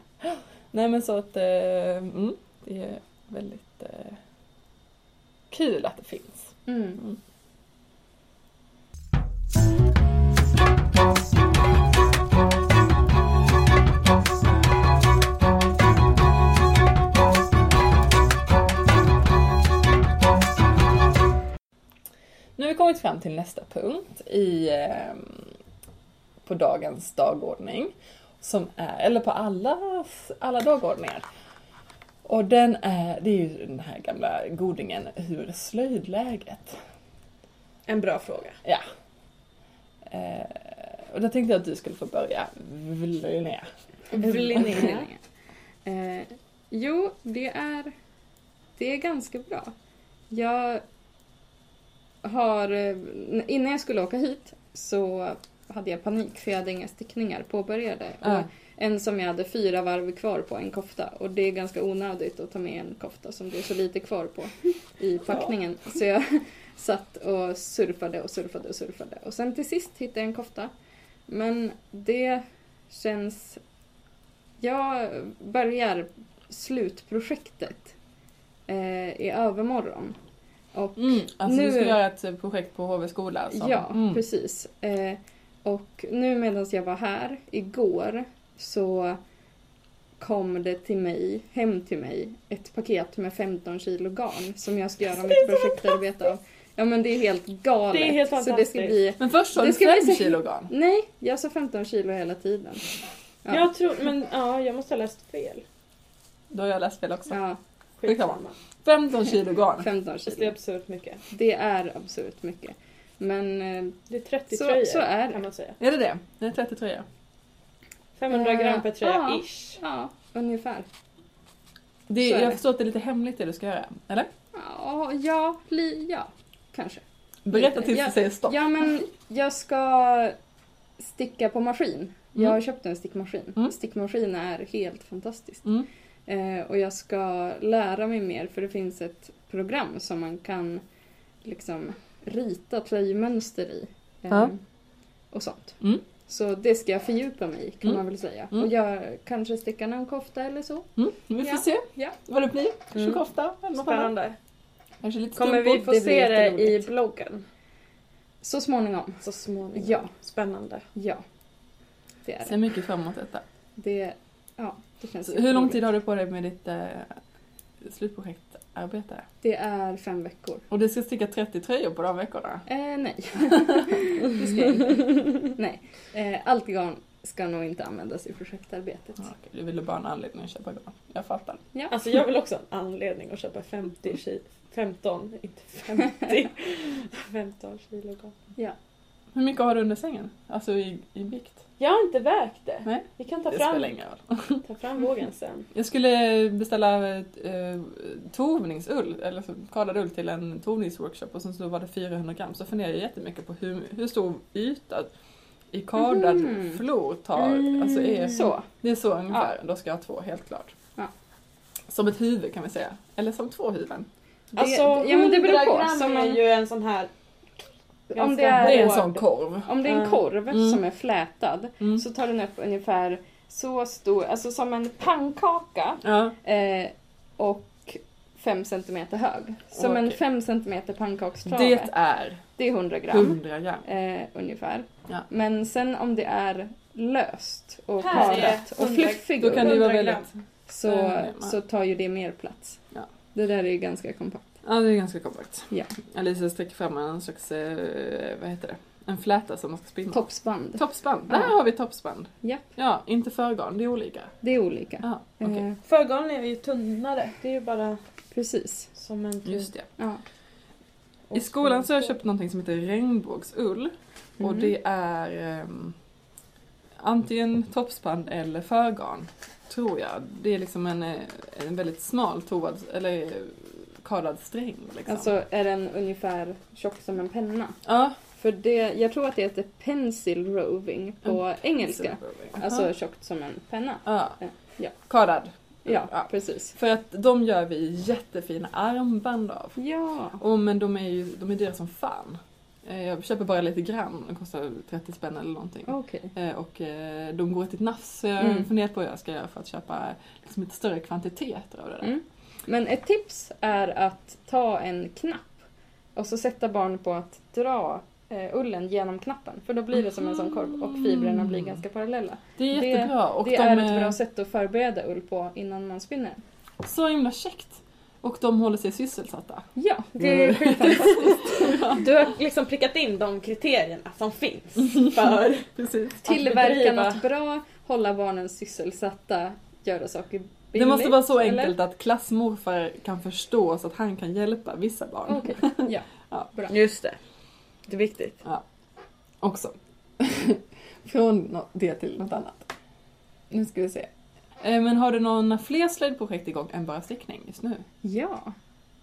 Speaker 1: Nej men så att, eh, mm, det är väldigt eh, kul att det finns.
Speaker 3: Mm.
Speaker 1: Mm. Nu har vi kommit fram till nästa punkt i, eh, på dagens dagordning. Som är, eller på allas, alla dagordningar. Och den är, det är ju den här gamla godingen, hur är slöjdläget?
Speaker 2: En bra fråga.
Speaker 1: Ja. Eh, och då tänkte jag att du skulle få börja. Linnea.
Speaker 2: Linnea.
Speaker 3: Eh, jo, det är, det är ganska bra. Jag har... eh, Innan jag skulle åka hit så hade jag panik för jag hade inga stickningar påbörjade. Och
Speaker 1: Ja.
Speaker 3: En som jag hade fyra varv kvar på en kofta och det är ganska onödigt att ta med en kofta som det är så lite kvar på i packningen. Så jag satt och surfade och surfade och surfade och sen till sist hittade jag en kofta. Men det känns... Jag börjar slutprojektet eh, i övermorgon. Och
Speaker 1: Mm, alltså
Speaker 3: Nu-
Speaker 1: du skulle göra ett eh, projekt på HV skola?
Speaker 2: Alltså.
Speaker 1: som-
Speaker 3: Ja,
Speaker 1: mm.
Speaker 3: precis. Eh, och nu medan jag var här igår så kom det till mig, hem till mig, ett paket med 15 kilo garn som jag ska göra
Speaker 2: Alltså,
Speaker 3: mitt projektarbete av. Ja men det är helt galet.
Speaker 2: Det är helt
Speaker 3: så det ska
Speaker 2: fantastiskt.
Speaker 3: bli...
Speaker 1: Men först sa
Speaker 3: Det
Speaker 1: du
Speaker 3: ska bli
Speaker 1: fem
Speaker 3: så-
Speaker 1: kilo garn.
Speaker 3: Nej, jag sa 15 kilo hela tiden. Ja.
Speaker 2: Jag tror, men ja, jag måste ha läst fel.
Speaker 1: Då har jag läst fel också.
Speaker 3: Ja,
Speaker 2: Skitsamma.
Speaker 1: 15 kilo garn.
Speaker 3: 15
Speaker 2: Fast Det är
Speaker 3: kilo.
Speaker 2: absurt mycket.
Speaker 3: Det är absurt mycket. Men eh,
Speaker 2: Det är 30
Speaker 3: Så-
Speaker 2: tröjor
Speaker 3: så är det.
Speaker 2: kan man säga.
Speaker 1: Är det det? Det är 30 tröjor.
Speaker 2: 500
Speaker 3: Eh,
Speaker 2: gram per tröja,
Speaker 3: ja.
Speaker 2: ish.
Speaker 3: ja, ungefär.
Speaker 1: Det är,
Speaker 3: Så är
Speaker 1: jag
Speaker 3: det.
Speaker 1: förstår att det är lite hemligt det du ska göra, eller?
Speaker 3: Ja, ja, li, ja kanske.
Speaker 1: Berätta tills
Speaker 3: Ja,
Speaker 1: du säger stopp. Mm.
Speaker 3: Ja men jag ska sticka på maskin. Jag har
Speaker 1: Mm.
Speaker 3: köpt en stickmaskin.
Speaker 1: Mm.
Speaker 3: Stickmaskin är helt fantastiskt.
Speaker 1: Mm.
Speaker 3: Eh, och jag ska lära mig mer för det finns ett program som man kan liksom rita tröjmönster i. eh,
Speaker 1: Ja.
Speaker 3: Och sånt.
Speaker 1: Mm.
Speaker 3: Så det ska jag fördjupa mig i kan
Speaker 1: Mm.
Speaker 3: man väl säga.
Speaker 1: Mm.
Speaker 3: Och jag kanske sticka någon kofta eller så.
Speaker 1: Mm. Vi får
Speaker 3: Ja,
Speaker 1: se
Speaker 3: ja.
Speaker 1: vad det blir. Kanske
Speaker 3: Mm.
Speaker 1: kofta eller något annat.
Speaker 2: Spännande.
Speaker 1: Kanske lite
Speaker 2: Kommer vi
Speaker 1: strumpor.
Speaker 2: få
Speaker 3: det blir
Speaker 2: se det i
Speaker 3: jätteroligt.
Speaker 2: bloggen?
Speaker 3: Så småningom.
Speaker 2: Så småningom.
Speaker 3: Ja.
Speaker 2: Spännande.
Speaker 3: Ja. Det är
Speaker 1: Ser
Speaker 3: det.
Speaker 1: mycket fram emot detta.
Speaker 3: det ja, det känns
Speaker 1: Så hur lång
Speaker 3: jätteroligt.
Speaker 1: tid har du på dig med ditt eh, slutprojektarbete?
Speaker 3: Det är fem veckor.
Speaker 1: Och du ska sticka 30 tröjor på de veckorna?
Speaker 3: Eh, nej. det ska jag inte. Nej. Eh, allt garn ska nog inte användas i projektarbetet.
Speaker 1: Ja, okej. Du ville bara ha en anledning att köpa garn. Jag fattar.
Speaker 3: Ja.
Speaker 2: Alltså jag vill också ha en anledning att köpa 50 kilo. 15, inte 50. 15 kilo garn.
Speaker 1: Hur mycket har du under sängen? Alltså i, i vikt?
Speaker 2: Jag har inte vägt det.
Speaker 1: Nej.
Speaker 2: Vi kan ta
Speaker 1: det
Speaker 2: fram,
Speaker 1: spelar ingen roll.
Speaker 2: ta fram vågen sen.
Speaker 1: Jag skulle beställa eh, tovningsull, eller så kardad ull till en tovningsworkshop och sen så var det 400 gram. Så funderar jag jättemycket på hur, hur stor yta i kardad
Speaker 3: Mhm.
Speaker 2: Mm.
Speaker 1: flor tar, alltså är
Speaker 3: Så.
Speaker 1: Det är så ungefär, då ska jag ha två helt klart.
Speaker 3: Ja.
Speaker 1: Som ett huvud kan vi säga, eller som två huvuden.
Speaker 3: Det, ja, men det beror
Speaker 2: 100
Speaker 3: på.
Speaker 2: Alltså, gram
Speaker 3: Som
Speaker 2: är
Speaker 3: en,
Speaker 2: ju en sån här... ganska
Speaker 3: det är
Speaker 1: Det är en
Speaker 2: hård-
Speaker 1: sån korv.
Speaker 3: om det är en
Speaker 2: Ja.
Speaker 3: korv
Speaker 1: Mm.
Speaker 3: som är flätad
Speaker 1: Mm.
Speaker 3: så tar den upp ungefär så stor, alltså som en pannkaka
Speaker 1: Ja.
Speaker 3: eh, och fem centimeter hög. Som en
Speaker 1: Okej.
Speaker 3: fem centimeter pannkakstrave.
Speaker 1: Det
Speaker 3: Det,
Speaker 1: är
Speaker 3: är 100 gram
Speaker 1: 100 gram.
Speaker 3: eh, ungefär.
Speaker 1: Ja.
Speaker 3: Men sen om det är löst och
Speaker 2: Här är
Speaker 3: kardat och
Speaker 2: 100
Speaker 3: fluffig
Speaker 1: Då kan det ju vara
Speaker 2: 100 gram.
Speaker 1: väldigt...
Speaker 3: så,
Speaker 1: Mm.
Speaker 3: så tar ju det mer plats.
Speaker 1: Ja.
Speaker 3: Det där är ju ganska kompakt.
Speaker 1: Ja, det är ganska kompakt.
Speaker 3: Ja.
Speaker 1: Alicia sträcker fram en slags, eh, vad heter det, en fläta som man ska spinna.
Speaker 3: Topsband,
Speaker 1: Toppsband,
Speaker 3: Ja.
Speaker 1: där har vi toppsband.
Speaker 3: Ja.
Speaker 1: Ja, inte förgarn, det är olika.
Speaker 3: det är olika.
Speaker 1: Ja, okej.
Speaker 3: Eh,
Speaker 2: Förgarn är ju tunnare. Det är ju bara
Speaker 3: precis.
Speaker 2: som en...
Speaker 1: Just det.
Speaker 3: Ja.
Speaker 1: I Eh, skolan så har jag köpt någonting som heter regnbågsull. Och
Speaker 3: Mm.
Speaker 1: det är ehm, antingen toppsband eller förgarn. Tror jag. Det är liksom en, eh, en väldigt smal toad, eller eh, kardad sträng. Liksom.
Speaker 3: Alltså är den ungefär tjock som en penna.
Speaker 1: ja,
Speaker 3: För det, jag tror att det heter pencil roving på engelska.
Speaker 1: Jaha.
Speaker 3: Alltså tjockt som en penna.
Speaker 1: ja.
Speaker 3: Ja.
Speaker 1: Kardad.
Speaker 3: Ja,
Speaker 1: Ja.
Speaker 3: precis.
Speaker 1: För att de gör vi jättefina armband av.
Speaker 3: Ja.
Speaker 1: Och, men de är ju de är dyra som fan. Eh, Jag köper bara lite grann, de kostar 30 spänn eller någonting.
Speaker 3: Okej.
Speaker 1: Eh, Och eh, de går till ett nafs så jag har
Speaker 3: Mm.
Speaker 1: funderat på hur jag ska göra för att köpa liksom lite större kvantiteter av det där.
Speaker 3: Mm. Men ett tips är att ta en knapp och så sätta barn på att dra eh, ullen genom knappen. För då blir det som en sån korv och fibrerna blir ganska parallella.
Speaker 1: Det är
Speaker 3: Det-
Speaker 1: jättebra och de
Speaker 3: det
Speaker 1: eh,
Speaker 3: är
Speaker 1: är,
Speaker 3: ett bra sätt att förbereda ull på innan man spinner.
Speaker 1: så himla käckt. Och de håller sig sysselsatta.
Speaker 3: Ja,
Speaker 1: det
Speaker 3: det
Speaker 1: är
Speaker 3: är skitfantastiskt.
Speaker 2: Du har liksom prickat in de kriterierna som finns för...
Speaker 1: Precis.
Speaker 3: Tillverka
Speaker 2: bedriva-
Speaker 3: något bra, hålla barnen sysselsatta, göra saker billigt.
Speaker 1: Det måste vara så
Speaker 3: eller?
Speaker 1: enkelt att klassmorfar kan förstå så att han kan hjälpa vissa barn
Speaker 3: Okej, ja.
Speaker 1: Ja.
Speaker 3: Bra.
Speaker 2: Just det. Det är viktigt.
Speaker 1: också. Från nå- det till något annat. Nu ska vi se. Eh, Men har du några fler slöjdprojekt igång än bara stickning just nu?
Speaker 3: Ja,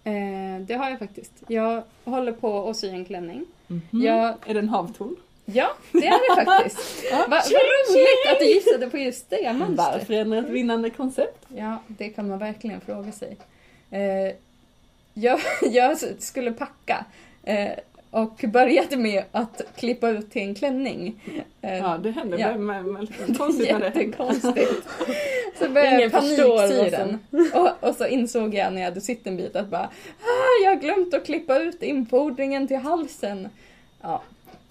Speaker 3: eh, det har jag faktiskt. Jag håller på att sy en klänning.
Speaker 1: Mhm.
Speaker 3: Jag
Speaker 1: Är det en havtorn?
Speaker 3: Ja, det är det faktiskt. Va, vad roligt att du gissade på just det mönstret.
Speaker 1: Varför ändra ett vinnande koncept?
Speaker 3: Ja, det kan man verkligen fråga sig. Eh, jag, jag skulle packa eh, och började med att klippa ut till en klänning. Eh,
Speaker 1: Ja, det händer
Speaker 3: Ja.
Speaker 1: ja. med, med lite konstigt med det.
Speaker 3: Jättekonstigt. Så började jag
Speaker 2: Ingen förstår vad som-
Speaker 3: paniksyren.
Speaker 1: liksom.
Speaker 3: Och, och så insåg jag när jag hade sytt en bit att bara ah, jag har glömt att klippa ut infodringen till halsen. Ja,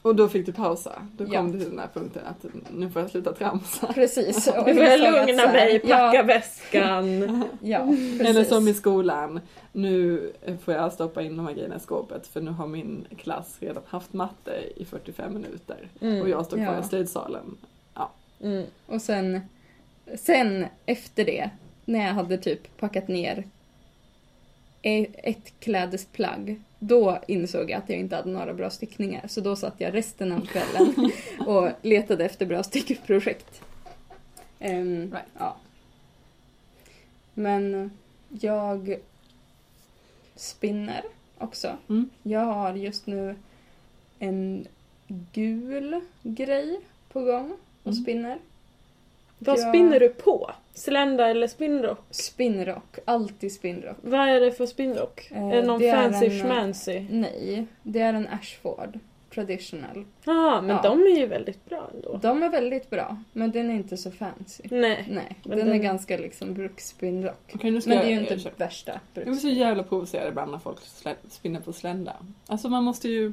Speaker 1: Och då fick du pausa. Då kom
Speaker 3: Ja.
Speaker 1: du till den här punkten att nu får jag sluta tramsa.
Speaker 3: precis. Och
Speaker 2: Nu får jag
Speaker 3: insåg att så
Speaker 2: lugna
Speaker 3: här,
Speaker 2: mig, packa
Speaker 3: Ja,
Speaker 2: väskan.
Speaker 3: ja
Speaker 1: Eller
Speaker 3: precis.
Speaker 1: som i skolan, nu får jag stoppa in de här grejerna i skåpet för nu har min klass redan haft matte i 45 minuter.
Speaker 2: Mm.
Speaker 1: Och jag står kvar
Speaker 3: Ja.
Speaker 1: i slöjdsalen.
Speaker 2: Mm.
Speaker 3: Och sen, sen efter det, när jag hade typ packat ner e- ett klädesplagg, då insåg jag att jag inte hade några bra stickningar. Så då satt jag resten av kvällen och letade efter bra stickprojekt. Ehm,
Speaker 1: Right.
Speaker 3: ja. Men jag spinner också.
Speaker 1: Mm.
Speaker 3: Jag har just nu en gul grej på gång och
Speaker 1: Mm.
Speaker 3: spinner.
Speaker 2: Vad
Speaker 3: Ja.
Speaker 2: spinner du på? Slända eller spinnrock?
Speaker 3: Spinnrock, alltid spinnrock.
Speaker 2: Vad är det för spinnrock?
Speaker 3: Eh,
Speaker 2: är det någon
Speaker 3: det är
Speaker 2: fancy
Speaker 3: en-
Speaker 2: schmancy?
Speaker 3: Nej, det är en Ashford traditional.
Speaker 2: Ja, men
Speaker 3: Ja.
Speaker 2: de är ju väldigt bra ändå.
Speaker 3: De är väldigt bra, men den är inte så fancy.
Speaker 2: Nej.
Speaker 3: Nej,
Speaker 2: Men
Speaker 3: den,
Speaker 2: den-
Speaker 3: är ganska liksom bruksspinnrock.
Speaker 1: Okej, nu ska
Speaker 3: Men det är
Speaker 1: jag
Speaker 3: ju inte
Speaker 1: erkänna.
Speaker 3: värsta
Speaker 1: Jag blir
Speaker 3: bruks...
Speaker 1: så jävla provocerad ibland när folk slä- spinner på slända. Alltså man måste ju...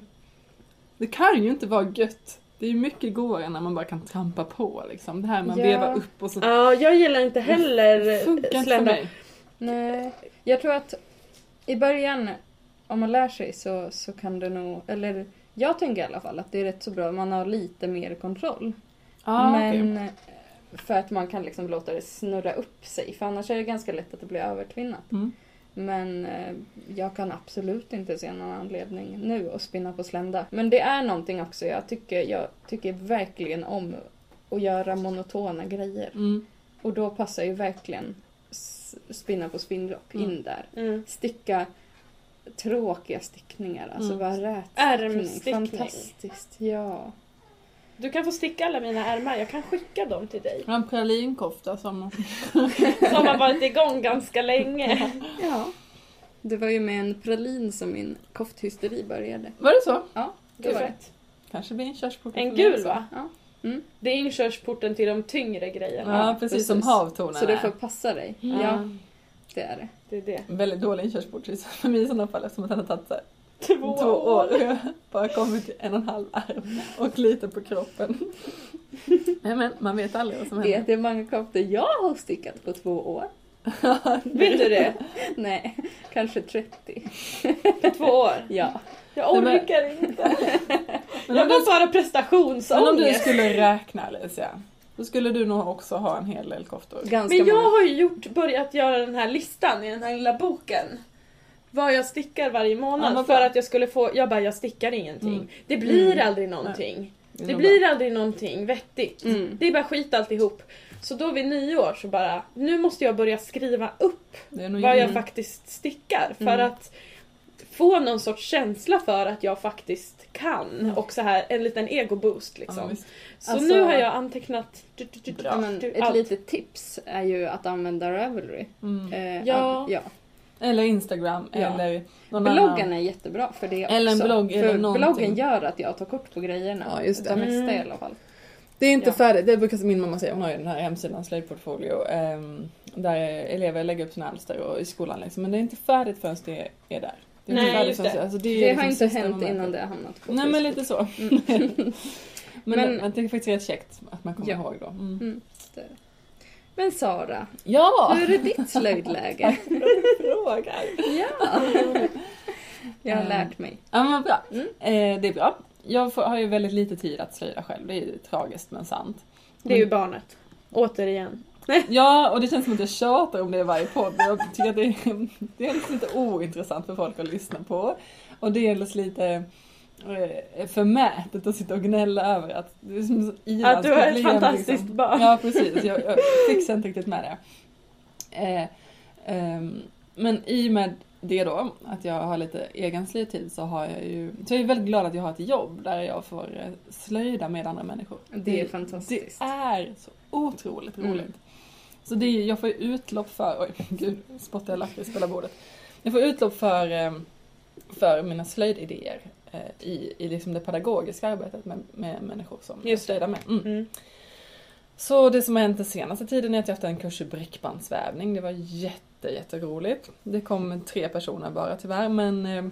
Speaker 1: Det kan ju inte vara gött. Det är ju mycket godare när man bara kan trampa på liksom. Det här med att
Speaker 3: Ja.
Speaker 1: veva upp och så
Speaker 2: Ja, jag gillar inte heller
Speaker 1: funkar inte för
Speaker 2: slända.
Speaker 1: mig.
Speaker 3: Nej, jag tror att i början, om man lär sig så, så kan det nog... Eller jag tänker i alla fall att det är rätt så bra om man har lite mer kontroll.
Speaker 1: Ah, okej.
Speaker 3: men eh, för att man kan liksom låta det snurra upp sig, för annars är det ganska lätt att det blir övertvinnat.
Speaker 1: Mm.
Speaker 3: Men eh, jag kan absolut inte se någon anledning nu att spinna på slända. Men det är någonting också, jag tycker, jag tycker verkligen om att göra monotona grejer.
Speaker 1: Mm.
Speaker 3: Och då passar ju verkligen s- spinna på spinnrock
Speaker 1: Mm.
Speaker 3: in där.
Speaker 2: Mm.
Speaker 3: Sticka tråkiga stickningar, alltså
Speaker 1: Mm.
Speaker 3: bara rätstickning.
Speaker 2: Ärmstickning.
Speaker 3: Fantastiskt, ja.
Speaker 2: Du kan få sticka alla mina ärmar, jag kan skicka dem till dig.
Speaker 1: En pralinkofta som...
Speaker 2: Som har varit igång ganska länge.
Speaker 3: Ja. Det var ju med en pralin som min kofthysteri började.
Speaker 1: Var det så?
Speaker 3: Det var det.
Speaker 1: Kanske blir en körsport.
Speaker 2: En gul va?
Speaker 3: Ja. Mm.
Speaker 2: Det är inkörsporten till de tyngre grejerna.
Speaker 1: Ja, precis, som
Speaker 3: precis.
Speaker 1: havtornen
Speaker 3: Så du
Speaker 1: är.
Speaker 3: får passa dig.
Speaker 2: Mm.
Speaker 3: Ja, det är det.
Speaker 2: Det är det.
Speaker 1: Väldigt dålig inkörsport till- för mig i sådana fall eftersom att han har tagit så här
Speaker 2: Två,
Speaker 1: två
Speaker 2: år.
Speaker 1: år och bara kommit till en och en halv arm och lite på kroppen. Nej men man vet aldrig vad som händer.
Speaker 3: Det är många koftor jag har stickat på två år.
Speaker 2: Vill du det?
Speaker 3: Nej, kanske 30.
Speaker 2: På två år?
Speaker 3: Ja.
Speaker 2: Jag
Speaker 1: Nej, men-
Speaker 2: orkar inte.
Speaker 1: Men
Speaker 2: jag
Speaker 1: om,
Speaker 2: har
Speaker 1: du,
Speaker 2: bara
Speaker 1: men om du
Speaker 2: prestationsångest.
Speaker 1: skulle räkna Alicia, då skulle du nog också ha en hel del koftor.
Speaker 3: Ganska
Speaker 2: Men jag
Speaker 3: många.
Speaker 2: har ju gjort, börjat göra den här listan i den här lilla boken. Vad jag stickar varje
Speaker 1: Ja,
Speaker 2: månad
Speaker 1: vad
Speaker 2: för
Speaker 1: bra.
Speaker 2: att jag skulle få, jag bara jag stickar ingenting.
Speaker 1: Mm.
Speaker 2: Det blir
Speaker 3: Mm.
Speaker 2: aldrig någonting.
Speaker 1: är
Speaker 2: Det
Speaker 1: nog
Speaker 2: blir aldrig någonting vettigt.
Speaker 3: Mm.
Speaker 2: Det är bara skit alltihop. Så då vid nyår så bara, nu måste jag börja skriva upp
Speaker 1: bra. det är nog
Speaker 2: vad jag
Speaker 1: ingen-
Speaker 2: faktiskt stickar för
Speaker 3: Mm.
Speaker 2: att få någon sorts känsla för att jag faktiskt kan och så här en liten egoboost
Speaker 1: Mm. Ja,
Speaker 2: liksom.
Speaker 1: visst.
Speaker 2: så
Speaker 3: Alltså-
Speaker 2: nu har jag antecknat du, du, du, du,
Speaker 1: Bra.
Speaker 3: Ja, men
Speaker 2: du,
Speaker 3: ett
Speaker 2: allt.
Speaker 3: litet tips är ju att använda Ravelry.
Speaker 1: mm.
Speaker 3: Eh,
Speaker 2: Ja.
Speaker 3: ja.
Speaker 1: Eller Instagram
Speaker 3: Ja.
Speaker 1: eller någon
Speaker 3: Bloggen
Speaker 1: annan.
Speaker 3: är jättebra för det
Speaker 1: Eller en
Speaker 3: också.
Speaker 1: blogg, är
Speaker 3: för
Speaker 1: det någonting?
Speaker 3: bloggen gör att jag tar kort på grejerna.
Speaker 1: Ja, just det.
Speaker 3: Det mesta
Speaker 2: Mm.
Speaker 3: i alla fall.
Speaker 1: Det är inte
Speaker 2: Ja.
Speaker 1: färdigt, det brukar min mamma säga, hon har ju den här hemsidan Slöjdportfolio ehm, där elever lägger upp sina alster och i skolan liksom. Men det är inte färdigt förrän det är där. Det är
Speaker 2: Nej,
Speaker 1: inte färdigt
Speaker 2: just
Speaker 1: förrän
Speaker 2: det.
Speaker 1: Alltså,
Speaker 3: Det,
Speaker 1: är liksom
Speaker 3: har inte
Speaker 1: sista
Speaker 3: hänt
Speaker 1: momentet.
Speaker 3: innan det har hamnat på
Speaker 1: Nej men
Speaker 3: Facebook. Mm.
Speaker 1: lite så. men,
Speaker 3: Men-
Speaker 1: men, det är faktiskt rätt käckt att man kommer
Speaker 3: Ja.
Speaker 1: ihåg då. Mm.
Speaker 3: Mm. Men Sara,
Speaker 1: Ja!
Speaker 3: hur är ditt slöjdläge?
Speaker 1: Frågar.
Speaker 3: ja. Jag har
Speaker 1: Eh,
Speaker 3: lärt mig.
Speaker 1: Ja men vad bra.
Speaker 3: Mm.
Speaker 1: Eh, det är bra. Jag får, har ju väldigt lite tid att slöjda själv, det är ju tragiskt men sant.
Speaker 2: Det är ju barnet. Återigen.
Speaker 1: Ja, och det känns som att jag tjatar om det i varje podd. Jag tycker att det är, det är liksom lite ointressant för folk att lyssna på. Och dels lite eh, förmätet att sitta och gnälla över att det är som
Speaker 2: Att du är ett
Speaker 1: i-landsproblem,
Speaker 2: fantastiskt
Speaker 1: liksom.
Speaker 2: barn.
Speaker 1: Ja, precis. Jag, jag fixar inte riktigt med det. Eh, ehm, men i och med det då, att jag har lite egenslig tid så har jag ju... Så jag är väldigt glad att jag har ett jobb där jag får eh, slöjda med andra människor.
Speaker 3: Det är fantastiskt.
Speaker 1: Det är så otroligt
Speaker 3: Mm.
Speaker 1: roligt. Så det är, jag får ju utlopp för... Oj, gud, spottar jag lakrits på hela bordet. Jag får utlopp för, eh, för mina slöjdidéer eh, i, i liksom det pedagogiska arbetet med, med människor som jag
Speaker 2: Just det.
Speaker 1: slöjdar med. Mm.
Speaker 2: Mm.
Speaker 1: Så det som har hänt den senaste tiden är att jag haft en kurs i brickbandsvävning. Det var jätte, jätteroligt. Det kom tre personer bara tyvärr men eh,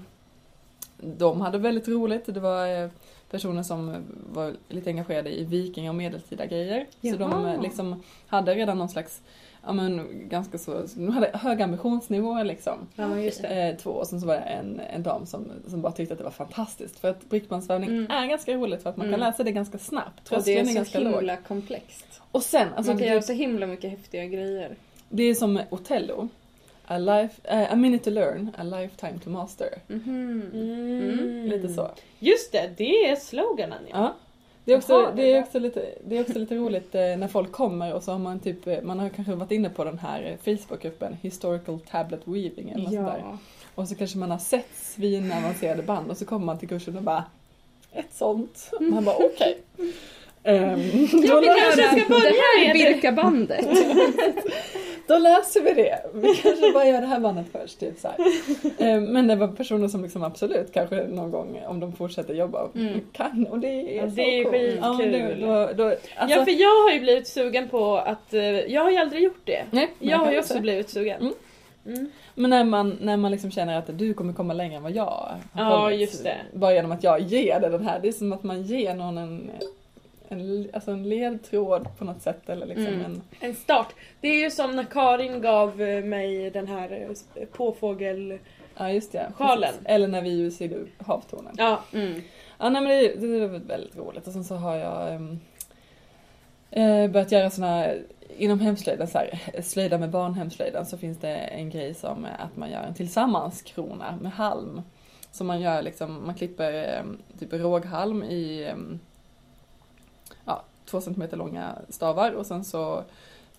Speaker 1: de hade väldigt roligt. Det var eh, personer som var lite engagerade i vikinga och medeltida grejer. Så de
Speaker 2: Jaha.
Speaker 1: eh, liksom hade redan någon slags, ja men ganska så, de hade hög ambitionsnivå liksom.
Speaker 2: Ja, men just det.
Speaker 1: Eh, två och sen så var det en, en dam som, som bara tyckte att det var fantastiskt för att brickbandsvävning
Speaker 3: Mm.
Speaker 1: är ganska roligt för att man kan
Speaker 3: Mm.
Speaker 1: läsa det ganska snabbt.
Speaker 3: Och det
Speaker 1: Tröskeln är,
Speaker 3: är så
Speaker 1: ganska låg.
Speaker 3: himla komplext.
Speaker 1: Och sen, alltså
Speaker 3: Man kan
Speaker 1: det-
Speaker 3: göra så himla mycket häftiga grejer.
Speaker 1: det är som Othello. A, life, eh, a minute to learn, a lifetime to master.
Speaker 3: Mhm.
Speaker 2: Mm.
Speaker 1: Lite så.
Speaker 2: Just det, det är sloganen ja.
Speaker 1: Ja. Det är, också,
Speaker 2: Jaha,
Speaker 1: det, är också lite, det är också lite roligt eh, när folk kommer och så har man typ, eh, man har kanske varit inne på den här eh, Facebookgruppen Historical Tablet Weaving eller något sånt Alltså, där.
Speaker 3: Ja.
Speaker 1: Och så kanske man har sett svinavancerade band och så kommer man till kursen och bara ett sånt. Man bara okej. Ehm, då,
Speaker 2: vi
Speaker 1: lär-
Speaker 2: kanske ska börja
Speaker 3: Det här är
Speaker 2: med det.
Speaker 3: Birkabandet.
Speaker 1: då löser vi det. Vi kanske bara gör det här bandet först. Typ så här. Ehm, Men det var personer som liksom absolut kanske någon gång om de fortsätter jobba
Speaker 3: Mm.
Speaker 1: kan och det är
Speaker 2: Ja,
Speaker 1: så
Speaker 2: det är
Speaker 1: coolt.
Speaker 2: skitkul.
Speaker 1: Ja, men det- då, då, alltså,
Speaker 2: ja, för jag har ju blivit sugen på att... eh, Jag har ju aldrig gjort det.
Speaker 1: nej, men
Speaker 2: Jag har
Speaker 1: kan
Speaker 2: ju
Speaker 1: också
Speaker 2: också
Speaker 1: det.
Speaker 2: blivit sugen.
Speaker 1: Mm.
Speaker 2: Mm.
Speaker 1: Men när man, när man liksom känner att du kommer komma längre än vad jag har
Speaker 2: Ja,
Speaker 1: kommit,
Speaker 2: just det.
Speaker 1: Bara genom att jag ger dig den här. Det är som att man ger någon en, en, alltså en ledtråd på något sätt. Eller liksom
Speaker 3: Mm.
Speaker 1: en,
Speaker 2: En start. Det är ju som när Karin gav eh, mig den här eh, påfågel...
Speaker 1: ja, just det.
Speaker 2: Sjalen.
Speaker 1: Precis. Eller när vi ljusade upp havtornen. Ja.
Speaker 2: Ja,
Speaker 3: Mm.
Speaker 1: nej, men det, det var väldigt roligt. Och sen så har jag ehm, eh, börjat göra såna Inom hemslöjden, så här, slöjda med barnhemslöjden, så finns det en grej som är att man gör en tillsammanskrona med halm. Så man gör liksom, man klipper eh, typ råghalm i eh, ja, två centimeter långa stavar och sen så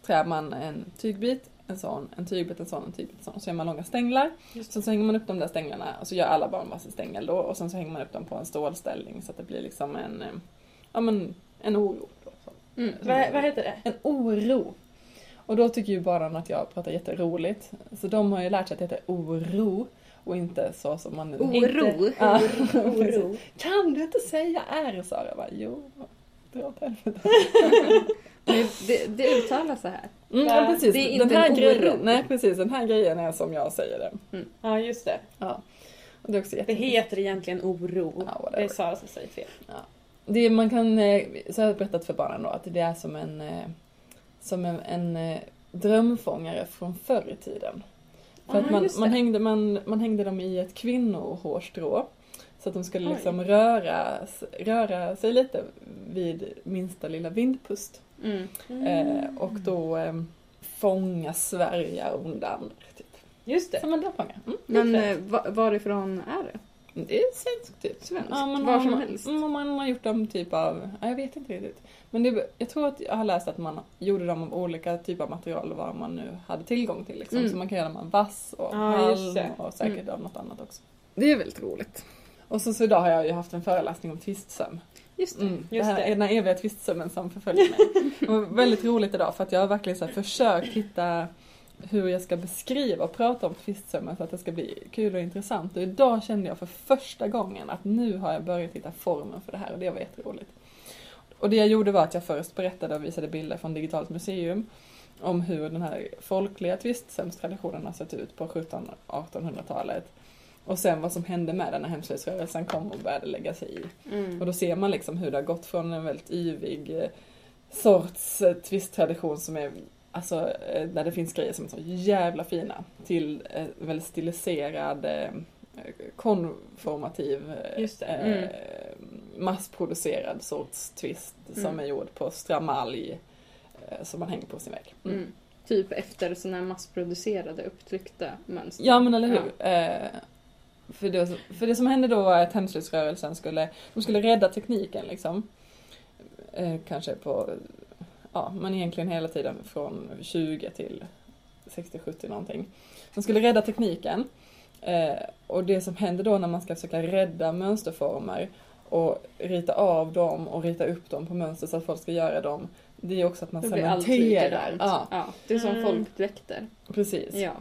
Speaker 1: trär man en tygbit, en sån, en tygbit, en sån, en tygbit, en sån. Så gör man långa stänglar.
Speaker 2: Just det.
Speaker 1: Sen så hänger man upp de där stänglarna och så gör alla barn varsin stängel då och sen så hänger man upp dem på en stålställning så att det blir liksom en, eh, ja men en oro. Då, så.
Speaker 3: Mm.
Speaker 2: vad, vad heter det?
Speaker 1: En oro. Och då tycker ju barnen att jag pratar jätteroligt. Så de har ju lärt sig att det heter oro och inte så som man...
Speaker 3: Oro.
Speaker 1: Ja.
Speaker 2: Oro.
Speaker 1: Kan du inte säga R Sara? Jag bara, jo, dra åt helvete.
Speaker 3: Det- Det, det uttalas så här.
Speaker 1: Mm,
Speaker 2: Ja,
Speaker 1: ja, precis.
Speaker 3: det är
Speaker 1: den
Speaker 3: inte
Speaker 1: här
Speaker 3: en oro.
Speaker 1: grejen, Nej precis, den här grejen är som jag säger den.
Speaker 2: Ja, just det.
Speaker 1: Ja. Och det är också
Speaker 2: Det
Speaker 1: jätte...
Speaker 2: heter egentligen oro.
Speaker 1: Ja,
Speaker 2: Det är
Speaker 1: whatever.
Speaker 2: Sara som säger fel.
Speaker 1: Det är, man kan, eh, så har jag berättat för barnen då, att det är som en, eh, som en, en eh, drömfångare från förr i tiden. För att
Speaker 2: Ah,
Speaker 1: man,
Speaker 2: just
Speaker 1: man,
Speaker 2: det.
Speaker 1: hängde, man, man hängde dem i ett kvinnohårstrå. Så att de skulle
Speaker 2: Oj.
Speaker 1: liksom röra, s- röra sig lite vid minsta lilla vindpust.
Speaker 3: Mm.
Speaker 1: Eh, och då eh, fånga Sverige undan. Typ.
Speaker 2: Mm. Just det.
Speaker 1: Som en drömfångare. Mm.
Speaker 3: Men eh, va, varifrån är det?
Speaker 1: Det är svenskt typ.
Speaker 3: Svenskt.
Speaker 1: Ja, men
Speaker 3: Var
Speaker 1: man,
Speaker 3: som helst.
Speaker 1: mm, Man har gjort dem typ av, ja, jag vet inte riktigt. Men det, jag tror att jag har läst att man gjorde dem av olika typer av material vad man nu hade tillgång till. Liksom.
Speaker 3: Mm.
Speaker 1: Så man kan göra dem av vass och
Speaker 2: Ja, just
Speaker 1: halm
Speaker 2: det.
Speaker 1: och säkert av något annat också. Det är väldigt roligt. Och så, så idag har jag ju haft en föreläsning om tvistsöm.
Speaker 3: Just det.
Speaker 1: Mm,
Speaker 2: Just
Speaker 1: det här
Speaker 2: det.
Speaker 1: är den här eviga tvistsömmen som förföljer mig. Det var väldigt roligt idag för att jag har verkligen så här försökt hitta hur jag ska beskriva och prata om tvistsömmen för att det ska bli kul och intressant. Och idag kände jag för första gången att nu har jag börjat hitta formen för det här och det var jätteroligt. Och det jag gjorde var att jag först berättade och visade bilder från Digitalt museum om hur den här folkliga tvistsömstraditionen har sett ut på 1700-1800-talet. Och sen vad som hände med den när hemslöjdsrörelsen kom och började lägga sig i.
Speaker 3: Mm.
Speaker 1: Och då ser man liksom hur det har gått från en väldigt yvig eh, sorts eh, twisttradition som är Alltså eh, där det finns grejer som är så jävla fina till eh, väldigt stiliserad eh, konformativ eh,
Speaker 2: Just det.
Speaker 1: eh,
Speaker 3: Mm.
Speaker 1: massproducerad sorts twist som
Speaker 3: Mm.
Speaker 1: är gjord på stramalj eh, som man hänger på sin vägg. Mm.
Speaker 3: Mm. Typ efter sådana här massproducerade upptryckta mönster.
Speaker 1: Ja men eller hur. Eh, för, det, för det som hände då var att hemslöjdsrörelsen skulle, de skulle rädda tekniken liksom. Eh, kanske på, ja men egentligen hela tiden från 20 till 60-70 någonting. De skulle rädda tekniken. Eh, Eh, och det som händer då när man ska försöka rädda mönsterformer och rita av dem och rita upp dem på mönster så att folk ska göra dem. Det är också att man
Speaker 3: Då blir allt likadant.
Speaker 1: Ja,
Speaker 3: Ja, det är som
Speaker 2: Mm.
Speaker 3: folkdräkter.
Speaker 1: precis. Ja.
Speaker 3: Ja.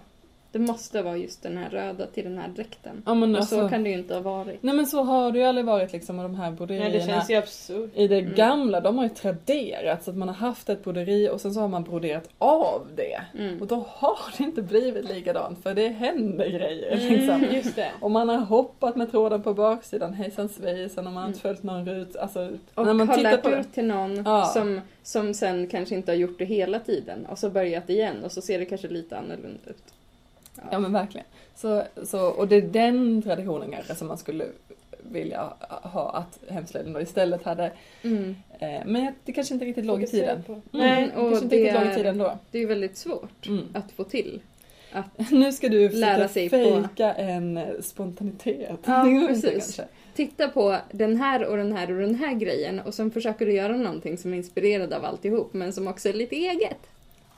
Speaker 3: Det måste vara just den här röda till den här dräkten.
Speaker 1: men
Speaker 3: Och
Speaker 1: alltså,
Speaker 3: så kan det ju inte ha varit.
Speaker 1: Nej men så har det ju aldrig varit liksom med de här
Speaker 2: Nej,
Speaker 1: broderierna.
Speaker 2: det känns ju absurt.
Speaker 1: I det
Speaker 3: Mm.
Speaker 1: gamla, de har ju traderat så att man har haft ett broderi och sen så har man broderat av det. Och
Speaker 3: Mm.
Speaker 1: då har det inte blivit likadant för det händer grejer liksom.
Speaker 2: Mm, just det.
Speaker 1: Och man har hoppat med tråden på baksidan hejsan svejsan och man har inte
Speaker 3: Mm.
Speaker 1: följt någon rut. Alltså,
Speaker 3: Och
Speaker 1: när man
Speaker 3: har
Speaker 1: tittar
Speaker 3: lärt
Speaker 1: på det.
Speaker 3: ut till någon
Speaker 1: Ja.
Speaker 3: som, som sen kanske inte har gjort det hela tiden och så börjat igen och så ser det kanske lite annorlunda ut.
Speaker 1: Ja men verkligen. Så, så, och det är den traditionen kanske som man skulle vilja ha att hemslöjden då istället hade.
Speaker 3: Mm.
Speaker 1: Eh, men det kanske inte riktigt låg i
Speaker 2: Fokusera
Speaker 1: tiden.
Speaker 2: på.
Speaker 1: Mm,
Speaker 3: Nej,
Speaker 1: det
Speaker 3: och
Speaker 1: kanske inte riktigt
Speaker 3: det
Speaker 1: låg i
Speaker 3: är-
Speaker 1: tiden då.
Speaker 3: Det är ju väldigt svårt
Speaker 1: Mm.
Speaker 3: att få till.
Speaker 1: Nu ska du
Speaker 3: Lära
Speaker 1: försöka
Speaker 3: sig på-
Speaker 1: fejka en eh, spontanitet.
Speaker 3: Ja,
Speaker 1: Det går inte
Speaker 3: precis.
Speaker 1: kanske.
Speaker 3: Titta på den här och den här och den här grejen och sen försöker du göra någonting som är inspirerad av alltihop men som också är lite eget.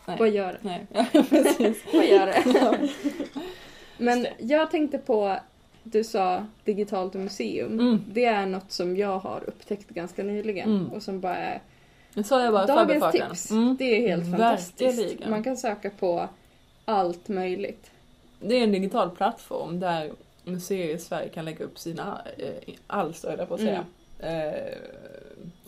Speaker 1: Nej.
Speaker 3: Vad gör det?
Speaker 1: Nej, ja, precis.
Speaker 3: Vad gör det?
Speaker 1: Ja.
Speaker 3: Men jag tänkte på, du sa digitalt museum.
Speaker 1: Mm.
Speaker 3: Det är något som jag har upptäckt ganska nyligen
Speaker 1: Mm.
Speaker 3: och som bara är
Speaker 1: Nu sa jag bara
Speaker 3: dagens
Speaker 1: förbifarten.
Speaker 3: tips.
Speaker 1: Mm.
Speaker 3: Det är helt fantastiskt.
Speaker 1: Verkligen.
Speaker 3: Man kan söka på allt möjligt.
Speaker 1: Det är en digital plattform där museer i Sverige kan lägga upp sina eh, alster, höll jag på att säga.
Speaker 3: Mm.
Speaker 1: Eh,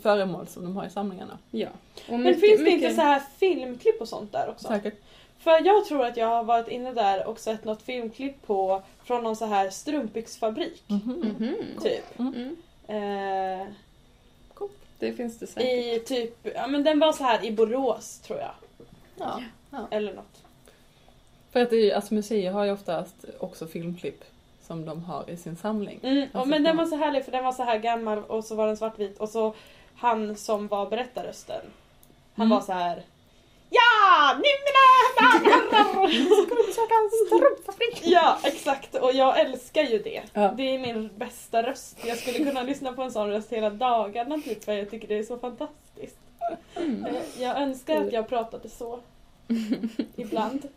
Speaker 1: föremål som de har i samlingarna.
Speaker 3: Ja. Och
Speaker 2: Men
Speaker 3: mycket-
Speaker 2: finns det
Speaker 3: mycket-
Speaker 2: inte så här filmklipp och sånt där också?
Speaker 1: Säkert.
Speaker 2: För jag tror att jag har varit inne där och sett något filmklipp på från någon så här strumpbyxfabrik.
Speaker 1: Mhm.
Speaker 3: Mhm.
Speaker 2: Typ.
Speaker 3: Mm.
Speaker 2: Eh,
Speaker 3: Det finns det säkert.
Speaker 2: I typ, ja men den var så här i Borås tror jag.
Speaker 1: Ja.
Speaker 2: Eller något.
Speaker 1: För att det är, ju- alltså, museer har ju oftast också filmklipp som de har i sin samling.
Speaker 2: Mm,
Speaker 1: Jag
Speaker 2: och, men den
Speaker 1: fattar.
Speaker 2: var så härlig för den var så här gammal och så var den svartvit och så han som var berättarrösten. Han
Speaker 1: Mm.
Speaker 2: var så här. Ja! Nu mina herrar! Ska vi besöka en strumpfabrik?" Ja, exakt. Och jag älskar ju det.
Speaker 1: Ja.
Speaker 2: Det är min bästa röst. Jag skulle kunna lyssna på en sån röst hela dagarna typ för jag tycker det är så fantastiskt.
Speaker 3: Mm.
Speaker 2: Eh, Jag önskar att jag pratade så. Ibland.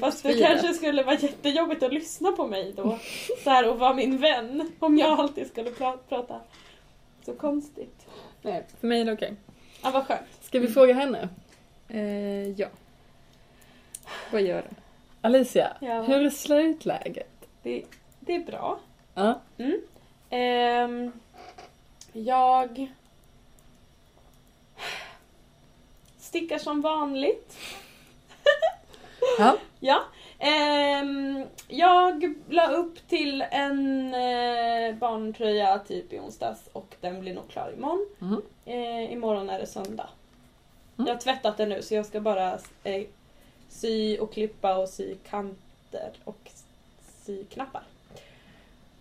Speaker 2: Fast det
Speaker 3: Uppspirat.
Speaker 2: kanske skulle vara jättejobbigt att lyssna på mig då. Så här och vara min vän. Om jag alltid skulle pra- prata så konstigt.
Speaker 1: Nej, för mig är det okej.
Speaker 2: Ja, vad skönt.
Speaker 1: Ska vi fråga henne?
Speaker 3: Eh, ja. Vad gör det?
Speaker 1: Alicia,
Speaker 2: Ja.
Speaker 1: hur är slöjdläget?
Speaker 2: Det, det är bra. Mm.
Speaker 1: Ja.
Speaker 2: Ehm, jag stickar som vanligt.
Speaker 1: Ja.
Speaker 2: Ja. Ehm, jag la upp till en eh, barntröja typ i onsdags och den blir nog klar imorgon.
Speaker 1: Mhm.
Speaker 2: Eh, imorgon är det söndag.
Speaker 1: Mm.
Speaker 2: Jag har tvättat den nu så jag ska bara eh, sy och klippa och sy kanter och sy knappar.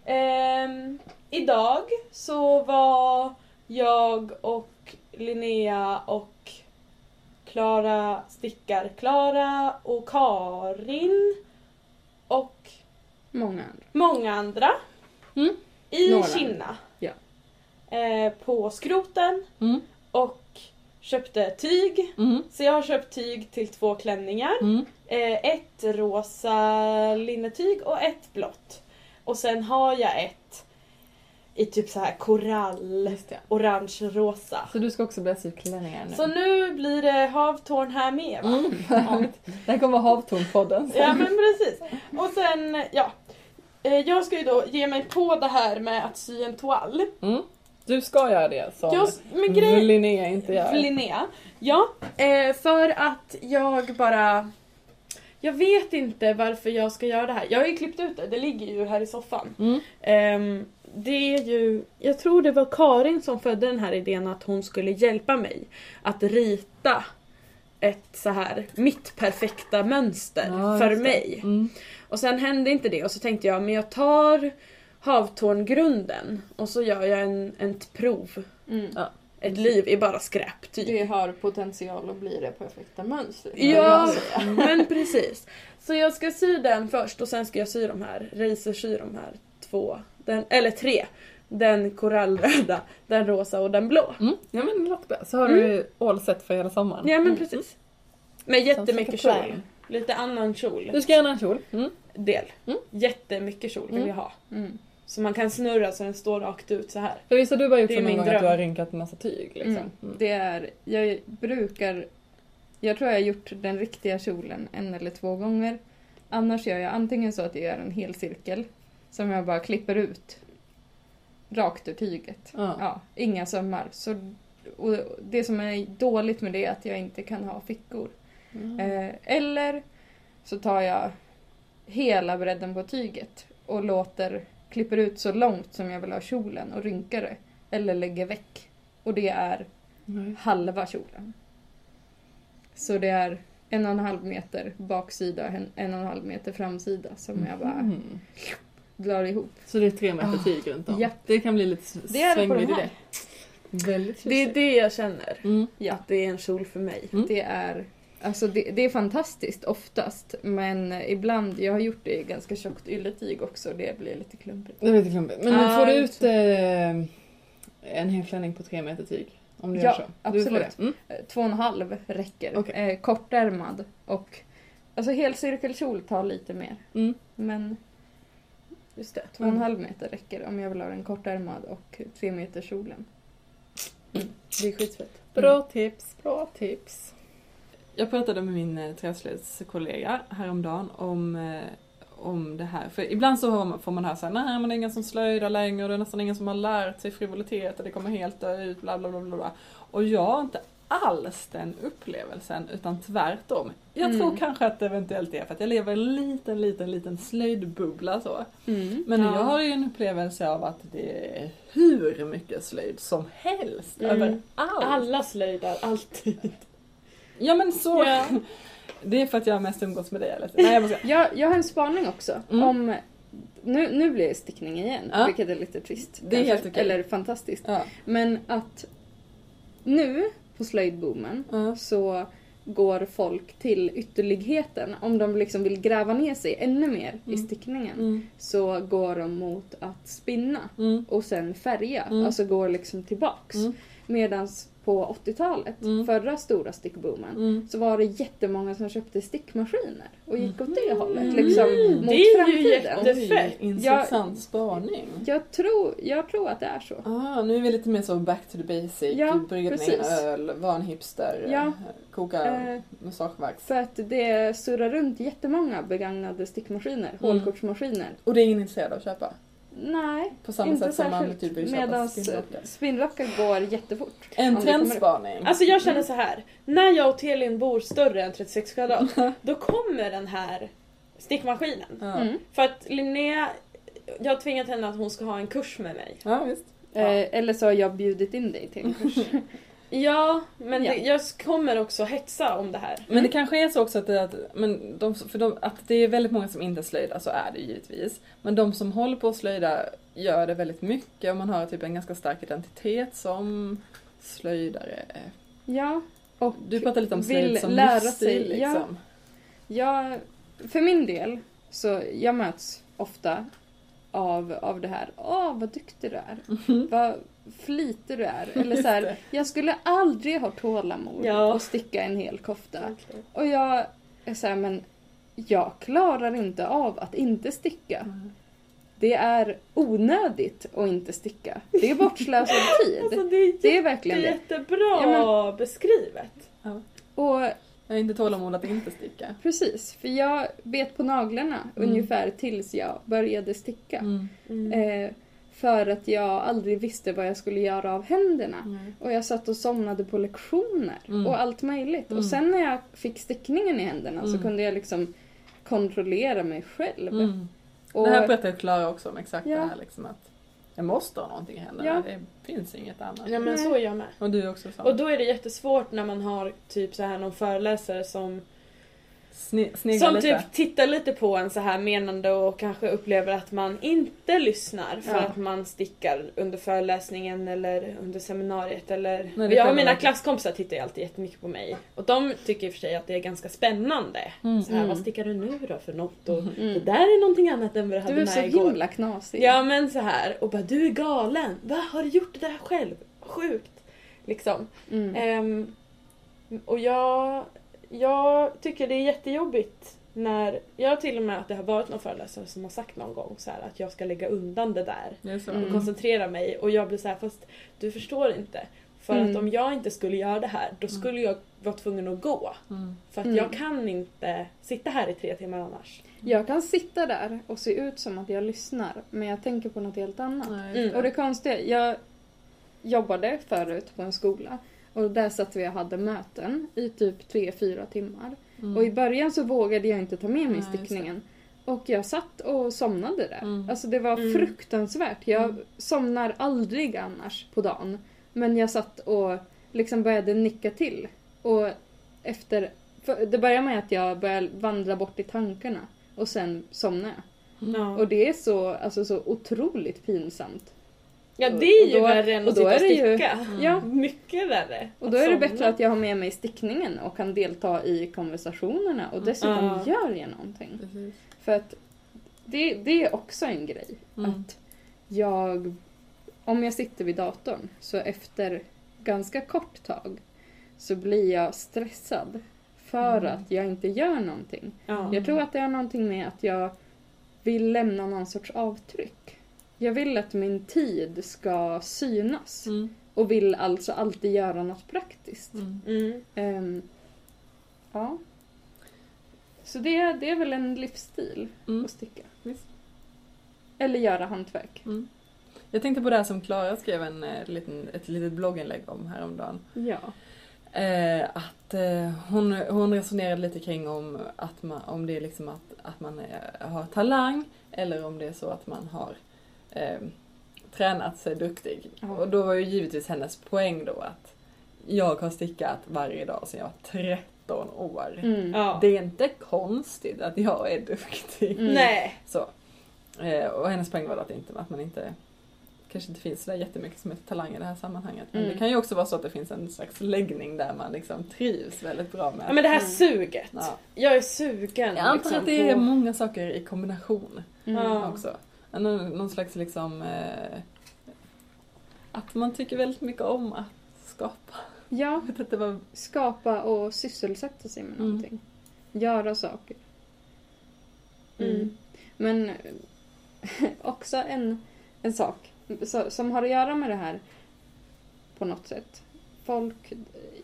Speaker 2: Ehm, idag så var jag och Linnea och Klara stickar Klara och Karin och
Speaker 3: Många andra.
Speaker 2: många andra
Speaker 1: Mm.
Speaker 2: i
Speaker 3: Norrland.
Speaker 2: Kina.
Speaker 3: Ja.
Speaker 2: Eh, på skroten
Speaker 1: Mm.
Speaker 2: och köpte tyg.
Speaker 1: Mm.
Speaker 2: Så jag har köpt tyg till två klänningar.
Speaker 1: Mm.
Speaker 2: Eh, ett rosa linnetyg och ett blått. Och sen har jag ett i typ så här korall,
Speaker 1: Just det.
Speaker 2: orange-rosa.
Speaker 1: Så du ska också börja sy klänningar nu?
Speaker 2: Så nu blir det havtorn här med va?
Speaker 1: Mm. Det här kommer vara Havtornpodden.
Speaker 2: Ja men precis. Och sen, ja. Eh, Jag ska ju då ge mig på det här med att sy en toal.
Speaker 1: Mm. Du ska göra det som
Speaker 2: Jag, men grejen
Speaker 1: Linnea inte gör.
Speaker 2: Linnea. Ja, eh, för att jag bara... Jag vet inte varför jag ska göra det här. Jag har ju klippt ut det, det ligger ju här i soffan.
Speaker 1: Mm.
Speaker 2: Ehm, det är ju... Jag tror det var Karin som födde den här idén att hon skulle hjälpa mig att rita ett så här mitt perfekta mönster
Speaker 1: Ja,
Speaker 2: för
Speaker 1: just det.
Speaker 2: mig.
Speaker 1: Mm.
Speaker 2: Och sen hände inte det och så tänkte jag, men jag tar havtorngrunden och så gör jag en, en prov.
Speaker 3: Mm.
Speaker 2: Ett liv i bara skräp typ.
Speaker 3: Det har potential att bli det perfekta mönstret.
Speaker 2: Ja, men precis. Så jag ska sy den först och sen ska jag sy de här, racersy de här två, den, eller tre. Den korallröda, den rosa och den blå.
Speaker 1: Mm. Ja men det låter bra. Så har
Speaker 2: Mm.
Speaker 1: du all set för hela sommaren.
Speaker 2: Ja men
Speaker 1: Mm.
Speaker 2: precis. Med
Speaker 1: Som sitter
Speaker 2: jättemycket
Speaker 1: på dig.
Speaker 2: kjol. Lite annan
Speaker 1: Du
Speaker 2: kjol.
Speaker 1: ska göra en kjol. Mm.
Speaker 2: Del.
Speaker 1: Mm.
Speaker 2: Jättemycket kjol vill
Speaker 1: Mm.
Speaker 2: jag ha.
Speaker 3: Mm.
Speaker 2: Så man kan snurra så den står rakt ut så här.
Speaker 1: För visst har du bara gjort
Speaker 2: Det är
Speaker 1: så någon
Speaker 2: min
Speaker 1: gång att
Speaker 2: dröm.
Speaker 1: du har rynkat en massa tyg liksom.
Speaker 3: Mm.
Speaker 1: Mm.
Speaker 3: Det är, jag brukar, jag tror jag har gjort den riktiga kjolen en eller två gånger. Annars gör jag antingen så att jag gör en hel cirkel som jag bara klipper ut rakt ur tyget.
Speaker 1: Ja.
Speaker 3: Ja, inga sömmar. Så, och det som är dåligt med det är att jag inte kan ha fickor.
Speaker 1: Mm.
Speaker 3: Eh, eller så tar jag hela bredden på tyget och låter, klipper ut så långt som jag vill ha kjolen och rynkar det. Eller lägger väck. Och det är
Speaker 1: Nej.
Speaker 3: halva kjolen. Så det är en och en halv meter baksida och en en och en halv meter framsida som jag bara
Speaker 1: Mm.
Speaker 3: drar ihop.
Speaker 1: Så det är tre meter
Speaker 3: Ah,
Speaker 1: tyg runt om.
Speaker 3: ja.
Speaker 1: Det kan bli lite s-
Speaker 3: Det är det på
Speaker 1: svängigt
Speaker 3: den
Speaker 1: i
Speaker 3: här.
Speaker 1: det. Väldigt
Speaker 2: Det är
Speaker 1: tjusigt.
Speaker 2: det jag känner.
Speaker 1: Mm.
Speaker 3: Ja.
Speaker 2: Att det är en kjol för mig.
Speaker 3: Det är, alltså det, det är fantastiskt oftast men ibland, jag har gjort det i ganska tjockt ylletyg också, det blir lite klumpigt.
Speaker 1: Det är lite klumpigt. Men
Speaker 2: Ja,
Speaker 1: får du
Speaker 2: jag
Speaker 1: ut eh, en helklänning på tre meter tyg? Om du
Speaker 3: Ja,
Speaker 1: gör så? Du får
Speaker 3: absolut.
Speaker 1: det. Mm.
Speaker 3: Eh, Två och en halv räcker.
Speaker 1: Okej.
Speaker 3: Eh, kortärmad och alltså helcirkelkjol tar lite mer.
Speaker 1: Mm.
Speaker 3: Men
Speaker 2: Just det.
Speaker 3: två och en halv meter räcker om jag vill ha den kortärmad och tre meter kjolen.
Speaker 2: Det är skitfett.
Speaker 1: Bra tips, bra tips. Jag pratade med min eh, träslöjdskollega häromdagen om, eh, om det här. För ibland så hör man- får man höra såhär, nej men det är ingen som slöjdar längre och det är nästan ingen som har lärt sig frivolitet och det kommer helt dö ut, bla bla bla bla. bla. Och jag har inte alls den upplevelsen utan tvärtom. Jag
Speaker 3: Mm.
Speaker 1: tror kanske att det eventuellt är för att jag lever i en liten, liten, liten slöjdbubbla så. Men
Speaker 2: Ja.
Speaker 1: jag har ju en upplevelse av att det är hur mycket slöjd som helst
Speaker 2: Mm.
Speaker 1: överallt.
Speaker 2: Alla slöjdar alltid.
Speaker 1: Ja men så.
Speaker 2: Ja.
Speaker 1: Det är för att jag mest umgås med dig eller? Nej jag måste...
Speaker 3: Jag, jag har en spaning också.
Speaker 1: Mm.
Speaker 3: Om, nu, nu blir det stickning igen,
Speaker 1: Ja.
Speaker 3: vilket är lite trist.
Speaker 1: Det är
Speaker 3: kanske.
Speaker 1: helt okej.
Speaker 3: Eller fantastiskt.
Speaker 1: Ja.
Speaker 3: Men att nu på slöjdboomen
Speaker 1: Ja.
Speaker 3: så går folk till ytterligheten. Om de liksom vill gräva ner sig ännu mer i
Speaker 1: Mm.
Speaker 3: stickningen
Speaker 1: Mm.
Speaker 3: så går de mot att spinna
Speaker 1: Mm.
Speaker 3: och sen färga.
Speaker 1: Mm.
Speaker 3: Alltså går liksom tillbaks.
Speaker 1: Mm.
Speaker 3: Medans på 80-talet,
Speaker 1: Mm.
Speaker 3: förra stora stickboomen,
Speaker 1: Mm.
Speaker 3: så var det jättemånga som köpte stickmaskiner och gick åt det hållet.
Speaker 1: Mm.
Speaker 3: Liksom,
Speaker 2: Mm,
Speaker 3: mot
Speaker 2: det är ju
Speaker 3: framtiden.
Speaker 2: jätte-
Speaker 1: Oj,
Speaker 2: fett.
Speaker 1: intressant spaning.
Speaker 3: Jag tror, jag tror att det är så.
Speaker 1: Ah, nu är vi lite mer så back to the basic,
Speaker 3: Ja,
Speaker 1: brygga ner en
Speaker 3: precis.
Speaker 1: öl, vara en hipster,
Speaker 3: Ja.
Speaker 1: koka
Speaker 3: Eh,
Speaker 1: mustaschvax.
Speaker 3: För att det surrar runt jättemånga begagnade stickmaskiner, hålkortsmaskiner.
Speaker 1: Och det är ingen intresserad av att köpa?
Speaker 3: Nej,
Speaker 1: På samma
Speaker 3: inte
Speaker 1: sätt som man
Speaker 3: särskilt.
Speaker 1: typ vill köpa
Speaker 3: Medans
Speaker 1: spinnrockar.
Speaker 3: eh, spinnrockar går jättefort. Om
Speaker 1: En
Speaker 3: det kommer upp.
Speaker 1: trendspaning.
Speaker 2: Alltså jag
Speaker 3: Mm.
Speaker 2: känner så här. När jag och Telin bor större än 36 kvadrat, då kommer den här stickmaskinen.
Speaker 1: Ja.
Speaker 3: Mm.
Speaker 2: För att Linnea, jag har tvingat henne att hon ska ha en kurs med mig.
Speaker 1: ja visst.
Speaker 2: Ja.
Speaker 3: Eh, eller så har jag bjudit in dig till en kurs.
Speaker 2: Ja, men
Speaker 3: Ja. Mm.
Speaker 2: Det, jag kommer också hetsa om det här.
Speaker 1: Men det kanske är så också att det, att, men de, för de, att det är väldigt många som inte slöjdar, så är det ju givetvis. Men de som håller på att slöjda gör det väldigt mycket och man har typ en ganska stark identitet som slöjdare.
Speaker 3: Ja, och
Speaker 1: Du pratar lite om
Speaker 3: vill
Speaker 1: slöjd som
Speaker 3: lära
Speaker 1: livsstil
Speaker 3: sig. Ja,
Speaker 1: liksom.
Speaker 3: Jag, för min del, så jag möts ofta av, av det här. Åh, vad duktig du är.
Speaker 1: liksom.
Speaker 3: Vad flitig du är. Eller så här, jag skulle aldrig ha tålamod
Speaker 2: Ja.
Speaker 3: att sticka en hel kofta. Och jag är så här, men jag klarar inte av att inte sticka. Det är onödigt att inte sticka. Det är bortslösad
Speaker 2: Alltså
Speaker 3: tid.
Speaker 2: det är, jätte,
Speaker 3: Det är verkligen det.
Speaker 2: jättebra
Speaker 3: Ja,
Speaker 2: beskrivet.
Speaker 3: Och
Speaker 1: Jag har inte tålamod att inte sticka.
Speaker 3: precis, för jag bet på naglarna
Speaker 1: Mm.
Speaker 3: ungefär tills jag började sticka.
Speaker 1: Mm.
Speaker 3: Eh, för att jag aldrig visste vad jag skulle göra av händerna. Och jag satt och somnade på lektioner
Speaker 1: Mm.
Speaker 3: Mm. och allt möjligt.
Speaker 1: Mm.
Speaker 3: Och sen när jag fick stickningen i händerna så
Speaker 1: Mm.
Speaker 3: kunde jag liksom kontrollera mig själv.
Speaker 1: Mm.
Speaker 3: Och,
Speaker 1: Det här berättar Klara också om exakt
Speaker 3: Ja.
Speaker 1: det här liksom att jag måste ha någonting i händerna.
Speaker 3: Ja.
Speaker 1: Det finns inget annat.
Speaker 2: Ja men
Speaker 3: Nej.
Speaker 2: så är jag med.
Speaker 1: Och du är också så.
Speaker 2: Och då är det jättesvårt när man har typ så här någon föreläsare som,
Speaker 1: Sne- snegla
Speaker 2: som
Speaker 1: lite.
Speaker 2: typ tittar lite på en så här menande och kanske upplever att man inte lyssnar för
Speaker 1: Ja.
Speaker 2: att man stickar under föreläsningen eller under seminariet eller...
Speaker 1: Nej, det
Speaker 2: jag och
Speaker 1: kan
Speaker 2: mina
Speaker 1: man-
Speaker 2: klasskompisar tittar ju alltid jättemycket på mig och de tycker i och för sig att det är ganska spännande.
Speaker 1: Mm.
Speaker 2: Så här,
Speaker 3: Mm.
Speaker 2: vad stickar du nu då för något? Och, Det
Speaker 3: mm.
Speaker 2: där är någonting annat än vad du hade
Speaker 3: Du är
Speaker 2: med
Speaker 3: så
Speaker 2: igår.
Speaker 3: himla knasig.
Speaker 2: Ja men så här och bara du är galen. Va har du gjort det där själv? Sjukt. Liksom.
Speaker 3: Mm.
Speaker 2: Ehm, och jag, jag tycker det är jättejobbigt när, jag har till och med att det har varit någon föreläsare som har sagt någon gång så här att jag ska lägga undan det där
Speaker 1: Det är så.
Speaker 2: och
Speaker 3: Mm.
Speaker 2: koncentrera mig och jag blir så här fast du förstår inte. För
Speaker 3: Mm.
Speaker 2: att om jag inte skulle göra det här då
Speaker 1: Mm.
Speaker 2: skulle jag vara tvungen att gå.
Speaker 1: Mm.
Speaker 2: För att
Speaker 3: Mm.
Speaker 2: jag kan inte sitta här i tre timmar annars.
Speaker 3: Jag kan sitta där och se ut som att jag lyssnar men jag tänker på något helt annat.
Speaker 1: Nej, just
Speaker 2: Mm.
Speaker 3: Och det konstiga, jag jobbade förut på en skola och där satt vi och hade möten i typ 3-4 timmar.
Speaker 1: Mm.
Speaker 3: Och i början så vågade jag inte ta med mig
Speaker 1: Nej, just
Speaker 3: stickningen. Och jag satt och somnade där.
Speaker 1: Mm.
Speaker 3: Alltså det var
Speaker 2: Mm.
Speaker 3: fruktansvärt. Jag
Speaker 1: Mm.
Speaker 3: somnar aldrig annars på dagen. Men jag satt och liksom började nicka till. Och efter... För det börjar med att jag börjar vandra bort i tankarna. Och sen somnar jag.
Speaker 2: Ja,
Speaker 3: Mm.
Speaker 1: Mm.
Speaker 3: Och det är så, alltså, så otroligt pinsamt.
Speaker 2: ja det är ju
Speaker 3: och då-
Speaker 2: värre än
Speaker 3: och
Speaker 2: att
Speaker 3: då
Speaker 2: sitta och
Speaker 3: är det ju-
Speaker 2: sticka.
Speaker 1: Mm.
Speaker 3: Ja,
Speaker 2: Mycket värre.
Speaker 3: och då är det
Speaker 2: somna.
Speaker 3: bättre att jag har med mig stickningen och kan delta i konversationerna och dessutom
Speaker 2: Ja.
Speaker 3: gör jag någonting.
Speaker 1: Precis.
Speaker 3: För att det, det är också en grej.
Speaker 1: Mm.
Speaker 3: Att jag, om jag sitter vid datorn, så efter ganska kort tag så blir jag stressad för
Speaker 1: Mm.
Speaker 3: att jag inte gör någonting.
Speaker 2: Ja.
Speaker 3: Jag tror att det har någonting med att jag vill lämna någon sorts avtryck. Jag vill att min tid ska synas
Speaker 1: Mm.
Speaker 3: och vill alltså alltid göra något praktiskt.
Speaker 1: Mm.
Speaker 2: Mm.
Speaker 3: Ehm, ja. Så det, det är väl en livsstil
Speaker 1: Mm.
Speaker 3: att sticka.
Speaker 1: Visst.
Speaker 3: Eller göra hantverk.
Speaker 1: Mm. Jag tänkte på det här som Klara skrev en, eh, liten, ett litet blogginlägg om häromdagen.
Speaker 3: Ja.
Speaker 1: Eh, att eh, hon, hon resonerade lite kring om, att man, om det är liksom att, att man eh, har talang eller om det är så att man har eh, tränat sig duktig.
Speaker 3: Ja.
Speaker 1: Och då var ju givetvis hennes poäng då att jag har stickat varje dag sedan jag var 13 år.
Speaker 3: Mm.
Speaker 2: Ja.
Speaker 1: Det är inte konstigt att jag är duktig.
Speaker 3: Mm.
Speaker 2: Nej.
Speaker 1: Så. Eh, och hennes poäng var att, inte, att man inte kanske inte finns så där jättemycket som är talang i det här sammanhanget. Men
Speaker 3: Mm.
Speaker 1: det kan ju också vara så att det finns en slags läggning där man liksom trivs väldigt bra med.
Speaker 2: Ja, men det här
Speaker 3: Mm.
Speaker 2: suget.
Speaker 1: Ja.
Speaker 2: Jag är sugen.
Speaker 1: Jag antar
Speaker 2: liksom,
Speaker 1: att det är
Speaker 2: på-
Speaker 1: många saker i kombination
Speaker 3: Mm.
Speaker 2: Ja.
Speaker 1: också. Någon, någon slags liksom eh, att man tycker väldigt mycket om att skapa.
Speaker 3: ja,
Speaker 1: Jag vet inte vad...
Speaker 3: skapa och sysselsätta sig med
Speaker 1: Mm.
Speaker 3: någonting. Göra saker. Mm.
Speaker 2: Mm.
Speaker 3: Men eh, också en, en sak så, som har att göra med det här på något sätt. Folk,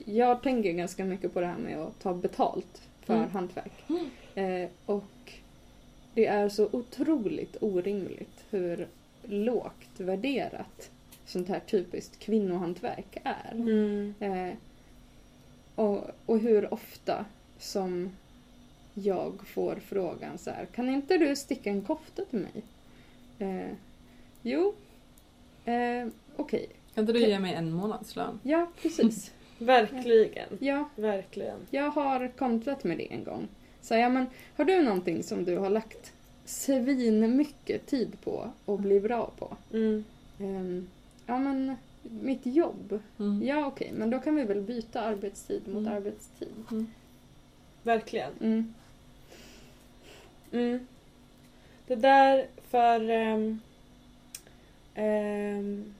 Speaker 3: jag tänker ganska mycket på det här med att ta betalt för
Speaker 1: Mm.
Speaker 3: hantverk. Eh, och det är så otroligt orimligt hur lågt värderat sånt här typiskt kvinnohantverk är.
Speaker 2: Mm.
Speaker 3: Eh, och, och hur ofta som jag får frågan så här, kan inte du sticka en kofta till mig? Eh, jo, eh, okej,
Speaker 1: Kan inte du ge mig en månadslön?
Speaker 3: ja precis.
Speaker 2: Verkligen.
Speaker 3: Ja,
Speaker 2: Verkligen.
Speaker 3: jag har kontrat med det en gång. Så ja men har du någonting som du har lagt svin mycket tid på och blir bra på?
Speaker 2: Mm.
Speaker 3: Ehm, ja men mitt jobb,
Speaker 1: Mm.
Speaker 3: ja okej, men då kan vi väl byta arbetstid mot
Speaker 1: Mm.
Speaker 3: arbetstid.
Speaker 1: Mm.
Speaker 2: Verkligen.
Speaker 3: Mm.
Speaker 2: Mm. Det där för... ehm, ehm,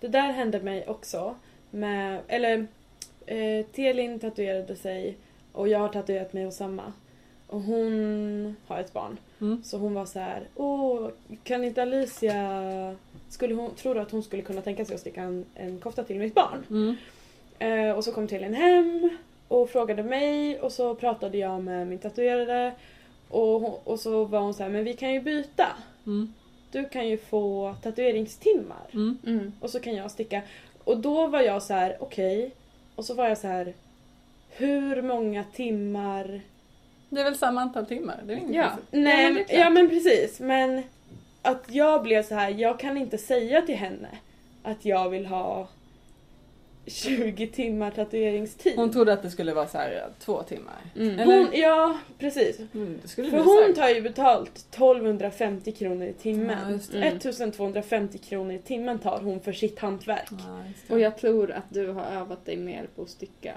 Speaker 2: det där hände mig också. Med, eller eh, Telin tatuerade sig och jag har tatuerat mig och samma. Och hon har ett barn.
Speaker 1: Mm.
Speaker 2: Så hon var så här, åh, kan inte Alicia... Skulle hon, tror du att hon skulle kunna tänka sig att sticka en, en kofta till mitt barn?
Speaker 1: Mm.
Speaker 2: Eh, och så kom Telin hem och frågade mig och så pratade jag med min tatuerare. Och, hon- och så var hon så här, men vi kan ju byta.
Speaker 1: Mm.
Speaker 2: Du kan ju få tatueringstimmar.
Speaker 1: Mm.
Speaker 3: Mm.
Speaker 2: Och så kan jag sticka. Och då var jag så här, okej. Och så var jag så här, hur många timmar?
Speaker 1: Det är väl samma antal timmar? Det är inget
Speaker 3: Ja.
Speaker 1: konstigt.
Speaker 2: Nej,
Speaker 3: men
Speaker 2: ja,
Speaker 3: det är
Speaker 2: men,
Speaker 3: klart.
Speaker 2: precis. Men att jag blev så här, jag kan inte säga till henne att jag vill ha 20 timmar tatueringstid.
Speaker 1: Hon trodde att det skulle vara så här eh, två timmar.
Speaker 3: Mm.
Speaker 1: Eller?
Speaker 2: Hon, ja, precis.
Speaker 1: Mm, det skulle
Speaker 2: För
Speaker 1: du
Speaker 2: hon
Speaker 1: sagt.
Speaker 2: tar ju betalt 1250 kronor i
Speaker 1: Ja,
Speaker 2: timmen.
Speaker 1: just det.
Speaker 3: Mm.
Speaker 2: 1250 kronor i timmen tar hon för sitt hantverk.
Speaker 1: Ja, just det.
Speaker 3: Och jag tror att du har övat dig mer på att sticka.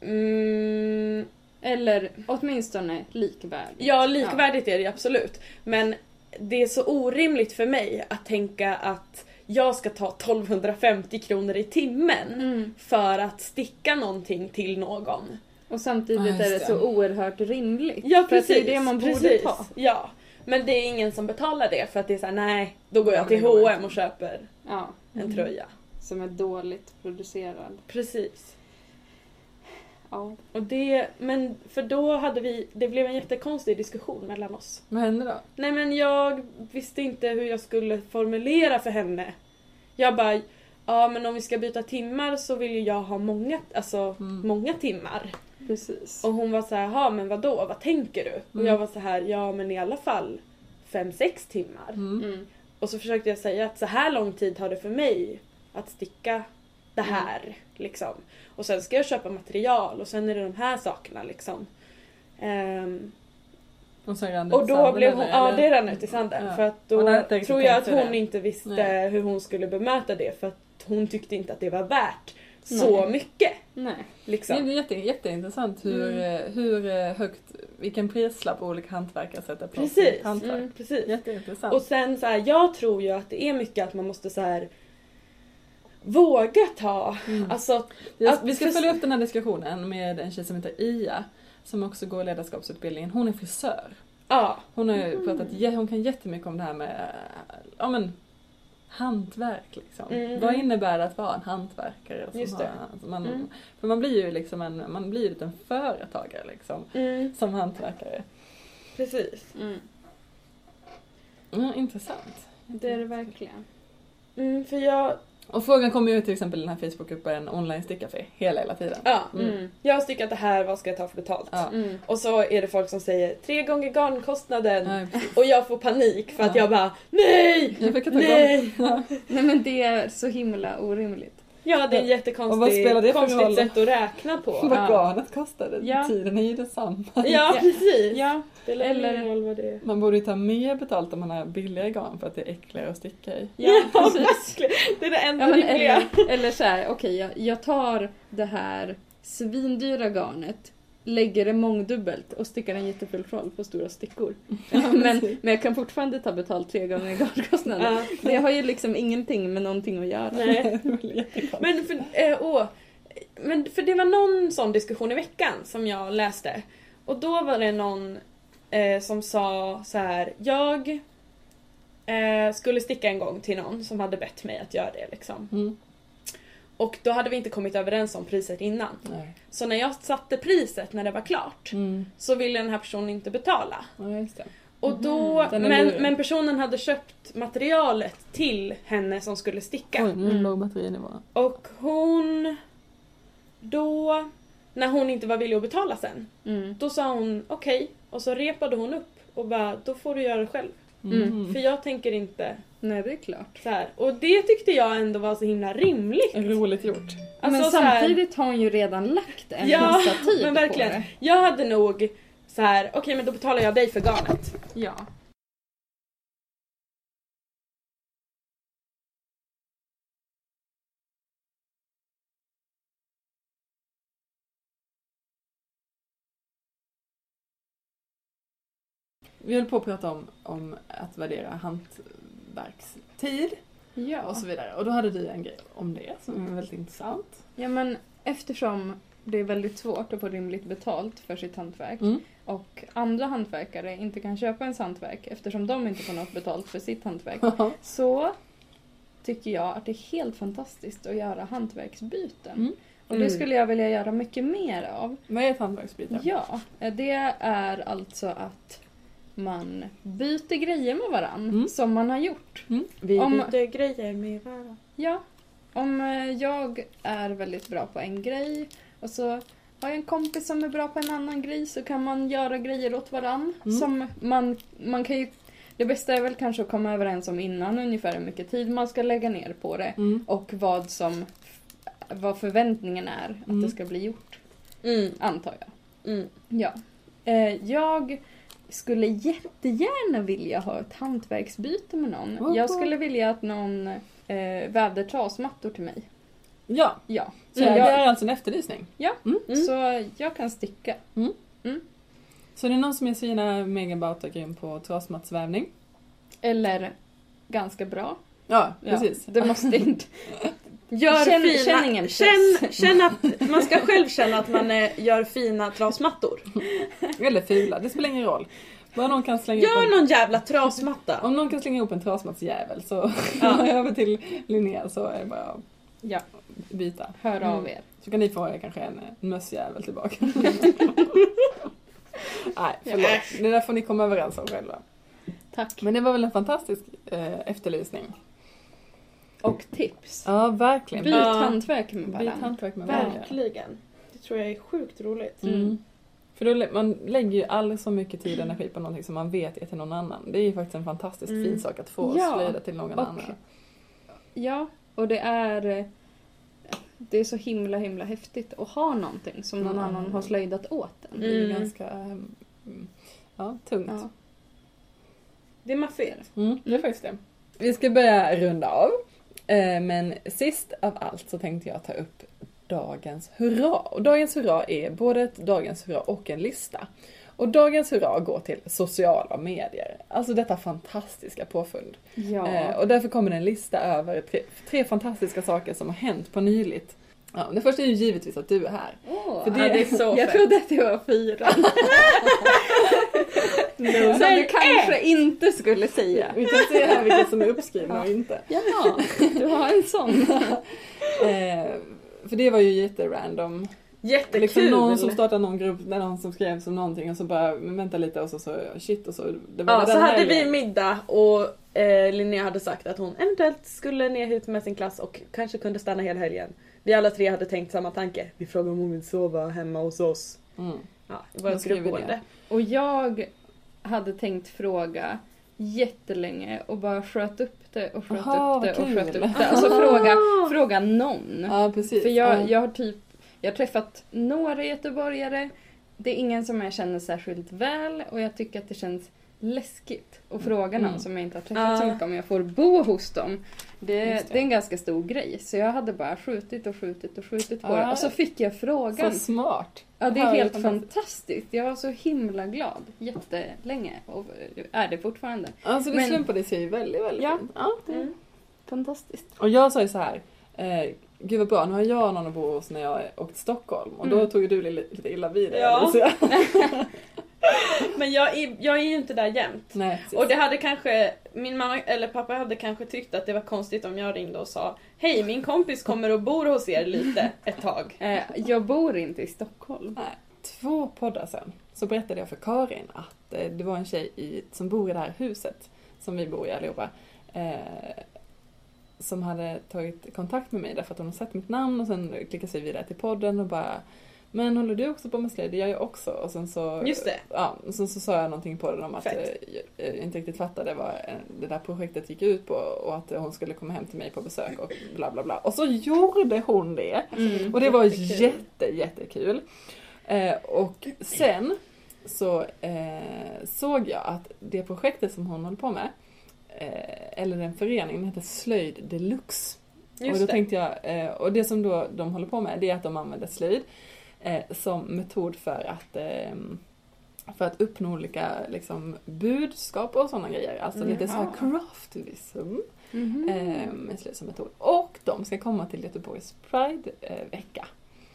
Speaker 2: Mm,
Speaker 3: Eller åtminstone likvärdigt.
Speaker 2: ja, likvärdigt är det ju absolut. Men det är så orimligt för mig att tänka att jag ska ta 1250 kronor i timmen
Speaker 3: Mm.
Speaker 2: för att sticka någonting till någon.
Speaker 3: Och
Speaker 1: Ja,
Speaker 3: samtidigt
Speaker 1: just
Speaker 3: är det
Speaker 1: det.
Speaker 3: så oerhört rimligt.
Speaker 2: Ja
Speaker 3: För att
Speaker 2: precis.
Speaker 3: det är det man borde
Speaker 2: precis.
Speaker 3: ta.
Speaker 2: Ja. Men det är ingen som betalar det för att det är såhär, nej, då går jag
Speaker 1: Ja,
Speaker 2: till
Speaker 1: det går
Speaker 2: H&M
Speaker 1: inte.
Speaker 2: och köper
Speaker 3: Ja,
Speaker 2: en
Speaker 1: Mm.
Speaker 2: tröja.
Speaker 3: som är dåligt producerad.
Speaker 2: Precis.
Speaker 3: Ja.
Speaker 2: Och det, men för då hade vi, det blev en jättekonstig diskussion mellan oss.
Speaker 1: Vad hände då?
Speaker 2: Nej men jag visste inte hur jag skulle formulera för henne. Jag bara, ja men om vi ska byta timmar så vill ju jag ha många, alltså
Speaker 1: Mm.
Speaker 2: många timmar.
Speaker 3: Precis.
Speaker 2: Och hon var så här, ja men vad då? vad tänker du? Och
Speaker 1: Mm.
Speaker 2: jag var så här, ja men i alla fall fem sex timmar.
Speaker 1: Mm.
Speaker 3: Mm.
Speaker 2: Och så försökte jag säga att så här lång tid tar det för mig att sticka det
Speaker 1: Mm.
Speaker 2: här. Liksom. Och sen ska jag köpa material och sen är det de här sakerna liksom. Ehm,
Speaker 1: Och sen rann det
Speaker 2: och
Speaker 1: ut
Speaker 2: då
Speaker 1: sanden,
Speaker 2: blev hon,
Speaker 1: eller?
Speaker 2: ja det rann ut i sanden.
Speaker 1: Ja.
Speaker 2: För att
Speaker 1: Hon hade
Speaker 2: då
Speaker 1: inte riktigt
Speaker 2: tror jag att
Speaker 1: tänkt sig
Speaker 2: hon
Speaker 1: det.
Speaker 2: inte visste
Speaker 1: Nej.
Speaker 2: hur hon skulle bemöta det för att hon tyckte inte att det var värt så
Speaker 3: Nej.
Speaker 2: mycket.
Speaker 3: Nej.
Speaker 1: Det är
Speaker 2: Liksom.
Speaker 1: jätte, jätteintressant hur,
Speaker 2: Mm.
Speaker 1: eh, hur eh, högt, vilken prislapp olika hantverkare sätter på
Speaker 2: Precis.
Speaker 1: sitt hantverk.
Speaker 3: Mm.
Speaker 2: Precis.
Speaker 1: Jätteintressant.
Speaker 2: Och sen så här, jag tror ju att det är mycket att man måste så här våga ta,
Speaker 1: Mm.
Speaker 2: alltså
Speaker 1: Vi-
Speaker 2: Att-
Speaker 1: vi ska
Speaker 2: för-
Speaker 1: följa upp den här diskussionen med en tjej som heter Ia som också går ledarskapsutbildningen. Hon är frisör.
Speaker 2: ja.
Speaker 1: Hon har ju pratat, jä- hon kan jättemycket om det här med eh, ja, men, hantverk. Liksom.
Speaker 2: Mm.
Speaker 1: Vad innebär det att vara en hantverkare? Som
Speaker 2: Just det.
Speaker 1: Har, alltså man,
Speaker 2: Mm.
Speaker 1: För man blir ju liksom en, man blir ju en liten företagare liksom,
Speaker 2: Mm,
Speaker 1: som hantverkare.
Speaker 2: precis.
Speaker 3: Mm.
Speaker 1: Mm, intressant.
Speaker 3: Det är det verkligen.
Speaker 2: Mm, för jag,
Speaker 1: Och frågan kommer ju till exempel i den här Facebookgruppen online stickcafé hela, hela tiden.
Speaker 2: ja,
Speaker 1: Mm.
Speaker 3: Mm.
Speaker 2: jag har stickat det här, vad ska jag ta för betalt?
Speaker 1: Ja.
Speaker 3: Mm.
Speaker 2: Och så är det folk som säger tre gånger garnkostnaden
Speaker 1: Ja, precis.
Speaker 2: och jag får panik för att
Speaker 1: Ja.
Speaker 2: jag bara NEJ!
Speaker 1: Jag fick ta igång.
Speaker 2: Nej!
Speaker 3: Nej men det är så himla orimligt.
Speaker 2: Ja det är en
Speaker 1: Och vad spelar det för
Speaker 2: jättekonstig konstigt
Speaker 1: roll?
Speaker 2: sätt att räkna på.
Speaker 1: Vad garnet kostade,
Speaker 3: Ja.
Speaker 1: tiden är ju detsamma.
Speaker 2: Ja precis!
Speaker 3: Ja.
Speaker 2: Spelar
Speaker 3: Eller-
Speaker 2: ingen roll vad det är.
Speaker 1: Man borde ju ta mer betalt om man har billigare garn för att det är äckligare att sticka i.
Speaker 3: Ja, precis.
Speaker 2: verkligen. Det är det enda
Speaker 3: Ja, men
Speaker 2: rimliga.
Speaker 3: eller, eller så här, okej jag, jag tar det här svindyra garnet, lägger det mångdubbelt och stickar en jättefull roll på stora stickor. men, men jag kan fortfarande ta betalt tre gånger garnkostnaden.
Speaker 2: Ja.
Speaker 3: Det har ju liksom ingenting med någonting att göra.
Speaker 2: Nej.
Speaker 1: Det blir jättekonstigt.
Speaker 2: Men för, eh, åh, men för det var någon sån diskussion i veckan som jag läste. Och då var det någon eh, som sa så här, jag eh, skulle sticka en gång till någon som hade bett mig att göra det liksom.
Speaker 1: Mm.
Speaker 2: Och då hade vi inte kommit överens om priset innan.
Speaker 1: Nej.
Speaker 2: Så när jag satte priset när det var klart
Speaker 1: Mm.
Speaker 2: så ville den här personen inte betala.
Speaker 1: Ja, just det.
Speaker 2: Och då,
Speaker 1: Mhm. Den är
Speaker 2: men,
Speaker 1: lurig.
Speaker 2: men personen hade köpt materialet till henne som skulle sticka.
Speaker 1: Oj, nu
Speaker 3: Mm.
Speaker 1: låg batterinivån.
Speaker 2: Och hon... Då, när hon inte var villig att betala sen,
Speaker 3: Mm.
Speaker 2: då sa hon okej. Och så repade hon upp och bara, då får du göra det själv.
Speaker 1: Mm.
Speaker 2: För jag tänker inte
Speaker 3: Nej, det är klart.
Speaker 2: så här. Och det tyckte jag ändå var så himla rimligt.
Speaker 1: Roligt gjort.
Speaker 2: Alltså
Speaker 3: men
Speaker 2: så här-
Speaker 3: samtidigt har hon ju redan lagt en
Speaker 2: Ja,
Speaker 3: massa tid
Speaker 2: men verkligen.
Speaker 3: på det.
Speaker 2: Jag hade nog så här, okej men då betalar jag dig för garnet.
Speaker 3: Ja.
Speaker 1: Vi höll på att prata om, om att värdera hantverkstid
Speaker 3: Ja.
Speaker 1: och så vidare. Och då hade du en grej om det som är väldigt intressant.
Speaker 3: ja, men eftersom det är väldigt svårt att få rimligt betalt för sitt hantverk
Speaker 1: Mm.
Speaker 3: och andra hantverkare inte kan köpa ens hantverk eftersom de inte får något betalt för sitt hantverk så tycker jag att det är helt fantastiskt att göra hantverksbyten.
Speaker 1: Mm.
Speaker 3: Och
Speaker 2: Mm.
Speaker 3: det skulle jag vilja göra mycket mer av.
Speaker 1: Vad är ett hantverksbyte?
Speaker 3: Ja, det är alltså att man byter grejer med varann
Speaker 1: Mm.
Speaker 3: som man har gjort.
Speaker 1: Mm.
Speaker 2: Vi
Speaker 3: Om-
Speaker 2: byter grejer med varandra.
Speaker 3: Ja, om eh, jag är väldigt bra på en grej och så har jag en kompis som är bra på en annan grej så kan man göra grejer åt varann.
Speaker 1: Mm.
Speaker 3: Som man, man kan ju, det bästa är väl kanske att komma överens om innan ungefär hur mycket tid man ska lägga ner på det
Speaker 1: Mm.
Speaker 3: och vad som vad förväntningen är att
Speaker 1: Mm.
Speaker 3: det ska bli gjort,
Speaker 2: Mm,
Speaker 3: antar jag.
Speaker 2: mm.
Speaker 3: Ja. Eh, jag skulle jättegärna vilja ha ett hantverksbyte med någon.
Speaker 1: Woho.
Speaker 3: Jag skulle vilja att någon eh, vävde trasmattor till mig.
Speaker 1: Ja,
Speaker 3: Ja.
Speaker 1: så
Speaker 3: Mm,
Speaker 1: det
Speaker 3: jag-
Speaker 1: är alltså en efterlysning.
Speaker 2: Mm.
Speaker 3: Så jag kan sticka.
Speaker 1: Så det är någon som är så gärna megabauta grym på trasmattsvävning.
Speaker 3: Eller ganska bra.
Speaker 1: Ja,
Speaker 3: Ja,
Speaker 1: precis.
Speaker 3: Det måste inte...
Speaker 2: Gör
Speaker 3: Känn-
Speaker 2: fina,
Speaker 3: känn ingen
Speaker 2: känn, känn att Man ska själv känna att man eh, gör fina trasmattor.
Speaker 1: Eller fula, det spelar ingen roll. Bara någon kan slänga ihop en-
Speaker 2: Gör någon jävla trasmatta.
Speaker 1: Om någon kan slänga ihop en trasmattsjävel så
Speaker 2: Ja.
Speaker 1: över till Linnea så är det bara att
Speaker 3: Ja,
Speaker 1: byta.
Speaker 3: hör av er.
Speaker 1: Så kan ni få er kanske en eh, mössjävel tillbaka. Nej, förlåt. Det där får ni komma överens om själva.
Speaker 3: Tack.
Speaker 1: Men det var väl en fantastisk eh, efterlysning.
Speaker 3: Och tips.
Speaker 1: Ja, verkligen.
Speaker 3: Byt
Speaker 1: Byt
Speaker 2: Ja.
Speaker 3: hantverk med varandra.
Speaker 1: hantverk med varandra.
Speaker 2: Verkligen. Det tror jag är sjukt roligt.
Speaker 1: Mm. För då, lä- man lägger ju aldrig så mycket tid och energi på någonting som man vet är till någon annan. Det är ju faktiskt en fantastiskt
Speaker 2: Mm.
Speaker 1: fin sak att få
Speaker 3: Ja,
Speaker 1: slöjda till någon
Speaker 3: och-
Speaker 1: annan.
Speaker 3: Ja, och det är... eh, Det är så himla himla häftigt att ha någonting som någon
Speaker 1: Mm.
Speaker 3: annan har slöjdat åt en.
Speaker 1: Det är ju
Speaker 2: Mm.
Speaker 1: ganska ehm, mm, ja, tungt.
Speaker 3: Ja.
Speaker 2: Det är maffer.
Speaker 1: Mm, det är faktiskt det. Vi ska börja runda av. Eh, Men sist av allt så tänkte jag ta upp dagens hurra. Och dagens hurra är både ett dagens hurra och en lista. Och dagens hurra går till sociala medier. Alltså detta fantastiska påfund. Eh,
Speaker 3: ja.
Speaker 1: Och därför kommer det en lista över tre, tre fantastiska saker som har hänt på nyligt. Ja, det första är ju givetvis att du är här.
Speaker 3: Åh.
Speaker 1: För det,
Speaker 2: Ja, det är så
Speaker 3: jag
Speaker 2: fett.
Speaker 3: trodde att det var fyra. Som
Speaker 2: Men
Speaker 3: du kanske inte skulle säga.
Speaker 1: Vi kan se här vilka som är uppskrivna och inte.
Speaker 3: Jaha, du har en sån.
Speaker 1: Eh, för det var ju jätterandom.
Speaker 2: Jättekul!
Speaker 1: Liksom någon som startade någon grupp, det är någon som skrev som någonting och så bara men vänta lite och så, så shit och så. Det
Speaker 2: Ja,
Speaker 1: den
Speaker 2: så hade
Speaker 1: helgen.
Speaker 2: vi middag och eh, Linnea hade sagt att hon eventuellt skulle ner hit med sin klass och kanske kunde stanna hela helgen. Vi alla tre hade tänkt samma tanke. Vi frågade om hon vill sova hemma hos oss.
Speaker 1: Mm.
Speaker 2: Ja, i
Speaker 1: Då
Speaker 2: vårt
Speaker 1: skriver vi
Speaker 2: gruppboende.
Speaker 3: Och jag hade tänkt fråga jättelänge och bara sköt upp det och sköt
Speaker 1: Aha,
Speaker 3: upp det
Speaker 1: vad
Speaker 3: och sköt
Speaker 1: kul.
Speaker 3: upp det. Alltså
Speaker 2: Ah.
Speaker 3: fråga, fråga någon.
Speaker 1: Ja precis.
Speaker 3: För jag,
Speaker 1: Ja.
Speaker 3: jag har typ jag har träffat några göteborgare. Det är ingen som jag känner särskilt väl och jag tycker att det känns läskigt att fråga någon
Speaker 1: Mm.
Speaker 3: som jag inte har träffat så
Speaker 2: Ja.
Speaker 3: mycket om jag får bo hos dem. Det,
Speaker 1: Just
Speaker 3: det.
Speaker 1: det.
Speaker 3: är en ganska stor grej. Så jag hade bara skjutit och skjutit och skjutit på
Speaker 1: Ja.
Speaker 3: det. Och så fick jag
Speaker 1: Så
Speaker 3: frågan.
Speaker 1: smart.
Speaker 3: Ja, det
Speaker 1: Ja,
Speaker 3: är
Speaker 1: det är
Speaker 3: helt
Speaker 1: fantastiskt.
Speaker 3: fantastiskt. Jag var så himla glad jättelänge och är det fortfarande.
Speaker 1: Alltså det
Speaker 3: Men-
Speaker 1: slumpade sig ju väldigt väldigt
Speaker 3: Ja.
Speaker 1: fint. ja.
Speaker 2: Mm.
Speaker 3: Fantastiskt.
Speaker 1: Och jag sa ju så här. Eh, Gud vad bra, nu har jag någon att bo hos när jag åkte till Stockholm och då
Speaker 3: Mm.
Speaker 1: tog ju du lite, lite illa vid dig.
Speaker 2: Ja.
Speaker 1: Alicia.
Speaker 2: Men jag är, jag är ju inte där jämt.
Speaker 1: Nej, precis.
Speaker 2: Och det hade kanske, min mamma eller pappa hade kanske tyckt att det var konstigt om jag ringde och sa Hej min kompis kommer och bor hos er lite ett tag.
Speaker 3: Eh, jag bor inte i Stockholm.
Speaker 1: Två poddar sen så berättade jag för Karin att eh, det var en tjej i, som bor i det här huset som vi bor i allihopa. Eh, som hade tagit kontakt med mig därför att hon har sett mitt namn och sen klickade sig vidare till podden och bara Men håller du också på med slöjd? Det gör jag också. Och sen så,
Speaker 2: Just det.
Speaker 1: Ja, och sen så sa jag någonting på den om att eh,
Speaker 2: Fett.
Speaker 1: jag, jag inte riktigt fattade vad eh, det där projektet gick ut på och att eh, hon skulle komma hem till mig på besök och bla bla bla. Och så gjorde hon det!
Speaker 3: Mm.
Speaker 1: Och det var
Speaker 2: Jättekul.
Speaker 1: jätte, jättekul. Eh, och sen så eh, såg jag att det projektet som hon håller på med, eh, eller den föreningen, heter Slöjd Deluxe. och
Speaker 2: Just
Speaker 1: då
Speaker 2: det.
Speaker 1: tänkte jag, eh, och det som då de håller på med det är att de använder slöjd eh, som metod för att eh, för att uppnå olika liksom, budskap och sådana grejer. Alltså lite så här
Speaker 3: Jaha.
Speaker 1: craftivism
Speaker 3: Mhm.
Speaker 2: Mm.
Speaker 1: eh, med slöjd som metod. Och de ska komma till Göteborgs eh, Pride-vecka.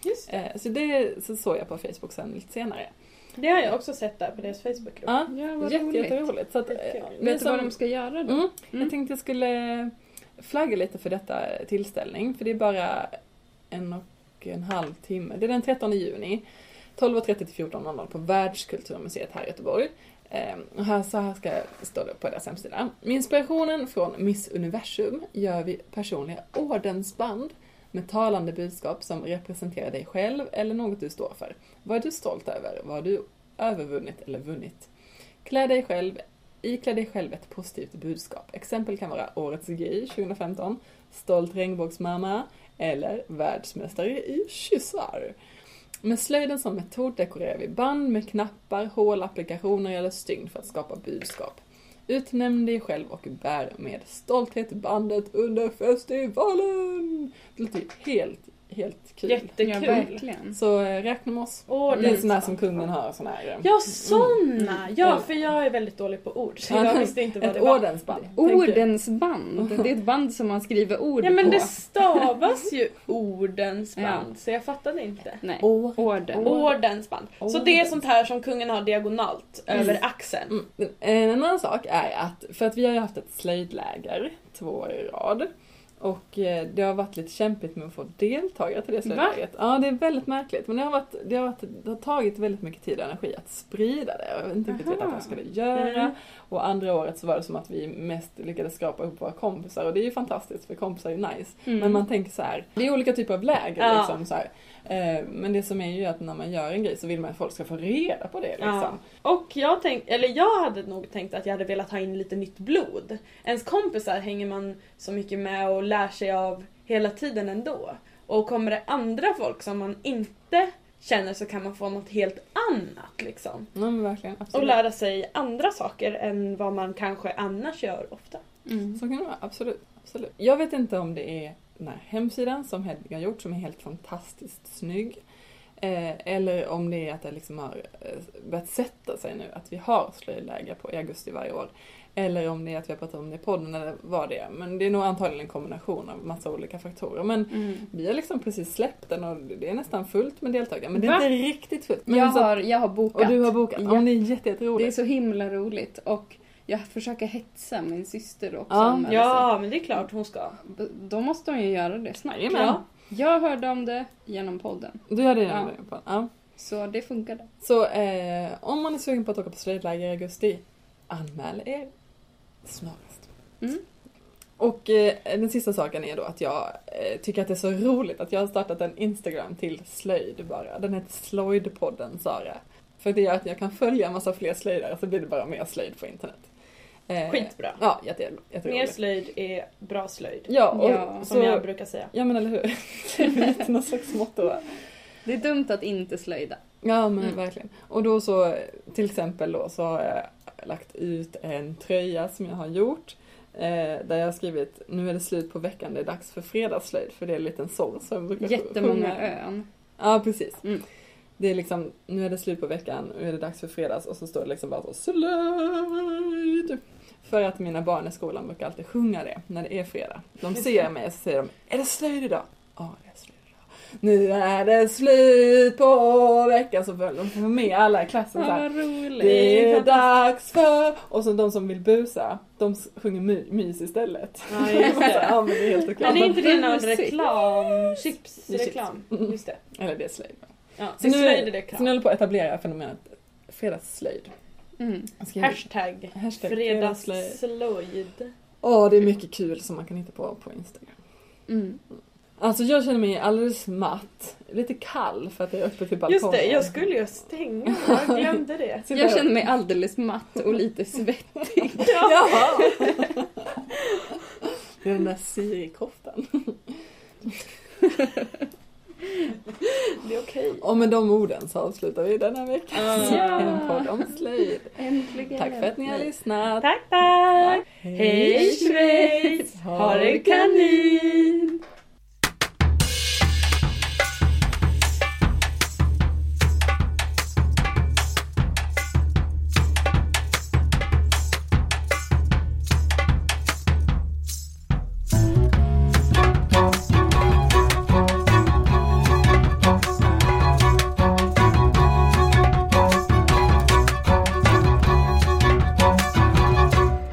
Speaker 2: Just det.
Speaker 1: Eh, Så det så såg jag på Facebook sen lite senare.
Speaker 2: det har jag också sett där på deras Facebookgrupp.
Speaker 1: Ja,
Speaker 3: Ja, vad
Speaker 1: jätte-
Speaker 3: roligt.
Speaker 1: jätteroligt. Så att, eh,
Speaker 2: Skitkul.
Speaker 1: ni
Speaker 3: Vet du
Speaker 1: som-
Speaker 3: vad de ska göra då?
Speaker 1: Mm,
Speaker 3: Mm.
Speaker 1: Jag tänkte jag skulle flagga lite för detta tillställning, för det är bara en och en halv timme. Det är den 13 juni, 12.30 till 14.00 på Världskulturmuseet här i Göteborg. Eh, Och här, så här ska stå det på deras hemsida. Med inspirationen från Miss Universum gör vi personliga ordensband med talande budskap som representerar dig själv eller något du står för. Vad är du stolt över? Vad har du övervunnit eller vunnit? Klä dig själv Iklä dig själv ett positivt budskap. Exempel kan vara Årets gay 2015, Stolt regnbågsmamma eller Världsmästare i kyssar. Med slöjden som metod dekorerar vi band med knappar, hål, applikationer eller stygn för att skapa budskap. Utnämn dig själv och bär med stolthet bandet under festivalen! Det låter ju helt helt kul.
Speaker 2: Jättekul.
Speaker 3: Ja, verkligen.
Speaker 1: Så eh, räkna med oss.
Speaker 2: Åh,
Speaker 1: Det är en
Speaker 2: nej.
Speaker 1: sån här som kungen har. Sån här, eh,
Speaker 2: Ja, sådana! Ja,
Speaker 1: Mm.
Speaker 2: för jag är väldigt dålig på ord. Så
Speaker 1: Ja,
Speaker 2: jag visste inte vad
Speaker 1: ett
Speaker 2: det var.
Speaker 1: ordensband. tänker jag.
Speaker 3: Ordens band. Det är ett band som man skriver ord
Speaker 2: Ja, men
Speaker 3: på.
Speaker 2: det stavas ju ordensband, så jag fattade inte.
Speaker 3: Nej.
Speaker 1: Å-
Speaker 3: Orden.
Speaker 1: Ord-
Speaker 2: Ordensband. Så det är
Speaker 1: Ordens.
Speaker 2: sånt här som kungen har diagonalt
Speaker 1: Mm.
Speaker 2: över axeln.
Speaker 1: Mm. Men En annan sak är att, för att vi har ju haft ett slöjdläger två år i rad. Och eh, det har varit lite kämpigt med att få deltagare till det slöjdlägret. Ja, det är väldigt märkligt. Men det har, varit, det, har varit, det har tagit väldigt mycket tid och energi att sprida det. Jag har inte riktigt vetat vad jag skulle göra.
Speaker 2: Mm.
Speaker 1: Och andra året så var det som att vi mest lyckades skrapa ihop våra kompisar. Och det är ju fantastiskt, för kompisar är ju nice.
Speaker 3: Mm.
Speaker 1: Men man tänker så här, det är olika typer av läger
Speaker 2: Ja.
Speaker 1: liksom. Så här. Eh, Men det som är ju att när man gör en grej så vill man att folk ska få reda på det liksom.
Speaker 2: Ja. Och jag tänkte, eller jag hade nog tänkt att jag hade velat ha in lite nytt blod. Ens kompisar hänger man så mycket med och lär sig av hela tiden ändå. Och kommer det andra folk som man inte känner så kan man få något helt annat liksom.
Speaker 1: Ja, men verkligen. Absolut.
Speaker 2: Och lära sig andra saker än vad man kanske annars gör ofta.
Speaker 1: Så
Speaker 3: Mm.
Speaker 1: kan det vara, absolut. absolut. Jag vet inte om det är den här hemsidan som Hedvig har gjort som är helt fantastiskt snygg. Eh, eller om det är att det liksom har eh, börjat sätta sig nu, att vi har slöjdläger på i augusti varje år. Eller om det är att vi har pratat om det i podden eller vad det är. Men det är nog antagligen en kombination av massa olika faktorer. Men
Speaker 3: Mm.
Speaker 1: vi har liksom precis släppt den och det är nästan fullt med deltagare. Men det är
Speaker 3: Va?
Speaker 1: inte riktigt fullt. Men
Speaker 3: Jag,
Speaker 1: så-
Speaker 3: har, jag har bokat.
Speaker 1: och du har bokat. Ja.
Speaker 3: Ja.
Speaker 1: det är jätte- jätteroligt.
Speaker 3: Det är så himla roligt och jag försöker hetsa min syster också.
Speaker 1: Ja.
Speaker 3: anmäla
Speaker 2: Ja, men det är klart hon ska.
Speaker 3: sig. Då måste hon ju göra det snart.
Speaker 1: Jajamän.
Speaker 2: Ja.
Speaker 3: Jag hörde om det genom podden.
Speaker 1: Du hade det
Speaker 3: Ja.
Speaker 1: redan på. Ja.
Speaker 3: Så det funkade.
Speaker 1: Så eh, om man är sugen på att åka på slöjdläger i augusti, anmäl er snarast.
Speaker 3: Mm.
Speaker 1: Och eh, den sista saken är då att jag eh, tycker att det är så roligt att jag har startat en Instagram till slöjd bara. Den heter Slöjdpodden Sara. För det gör att jag kan följa en massa fler slöjdare så blir det bara mer slöjd på internet. Eh,
Speaker 2: Skitbra.
Speaker 1: Ja, jätte, jätteroligt.
Speaker 2: Mer slöjd är bra slöjd.
Speaker 1: Ja, och
Speaker 3: Ja,
Speaker 1: så,
Speaker 2: Som jag brukar säga.
Speaker 1: Ja men eller hur. Det är lite någon slags motto va?
Speaker 3: Det är dumt att inte slöjda.
Speaker 1: Ja men
Speaker 3: Mm.
Speaker 1: verkligen. Och då så till exempel då så har jag lagt ut en tröja som jag har gjort. Eh, där jag har skrivit nu är det slut på veckan, det är dags för fredagsslöjd. För det är en liten sång som jag brukar
Speaker 3: Jättemånga
Speaker 1: sjunga.
Speaker 3: ön.
Speaker 1: Ja precis.
Speaker 3: Mm.
Speaker 1: Det är liksom nu är det slut på veckan, nu är det dags för fredags. Och så står det liksom bara så slöjd. För att mina barn i skolan brukar alltid sjunga det när det är fredag. De ser mig och så säger de är det slöjd idag? Ja det är slöjd. Nu är det slut på veckan så får de får med alla i klassen så
Speaker 3: Ja,
Speaker 1: här.
Speaker 3: vad roligt.
Speaker 1: Det är dags för... Och så de som vill busa, de s- sjunger my, mys istället.
Speaker 2: Ja, just det.
Speaker 1: ja men det är helt okej.
Speaker 2: Men det är inte det någon
Speaker 3: Musik.
Speaker 2: reklam... Chipsreklam.
Speaker 1: Chips. Mm.
Speaker 2: Just det.
Speaker 1: Eller det är slöjd.
Speaker 2: Ja,
Speaker 1: Så
Speaker 2: det
Speaker 1: nu,
Speaker 2: slöjd är
Speaker 1: så nu
Speaker 2: reklam.
Speaker 1: håller jag på att etablera fenomenet fredagsslöjd.
Speaker 3: Mm.
Speaker 1: Jag skriver-
Speaker 2: Hashtag.
Speaker 1: Hashtag fredagsslöjd.
Speaker 2: Fredagsslöjd.
Speaker 1: Åh, det är mycket kul som man kan hitta på på Instagram.
Speaker 3: Mm.
Speaker 1: Alltså jag känner mig alldeles matt. Lite kall för att det är öppet till balkongen.
Speaker 2: Just det, jag skulle ju stänga. Jag glömde det.
Speaker 1: Sitter
Speaker 3: Jag
Speaker 1: här och-
Speaker 3: känner mig alldeles matt och lite svettig.
Speaker 1: Jaha! Det är den där Siri-koftan.
Speaker 2: Det är okej.
Speaker 1: Och med de orden så avslutar vi denna vecka.
Speaker 3: Ja.
Speaker 1: En podd om slöjd.
Speaker 3: Äntligen.
Speaker 1: Tack för att ni har lyssnat.
Speaker 2: Tack, tack! Hej Schweiz! Har en kanin!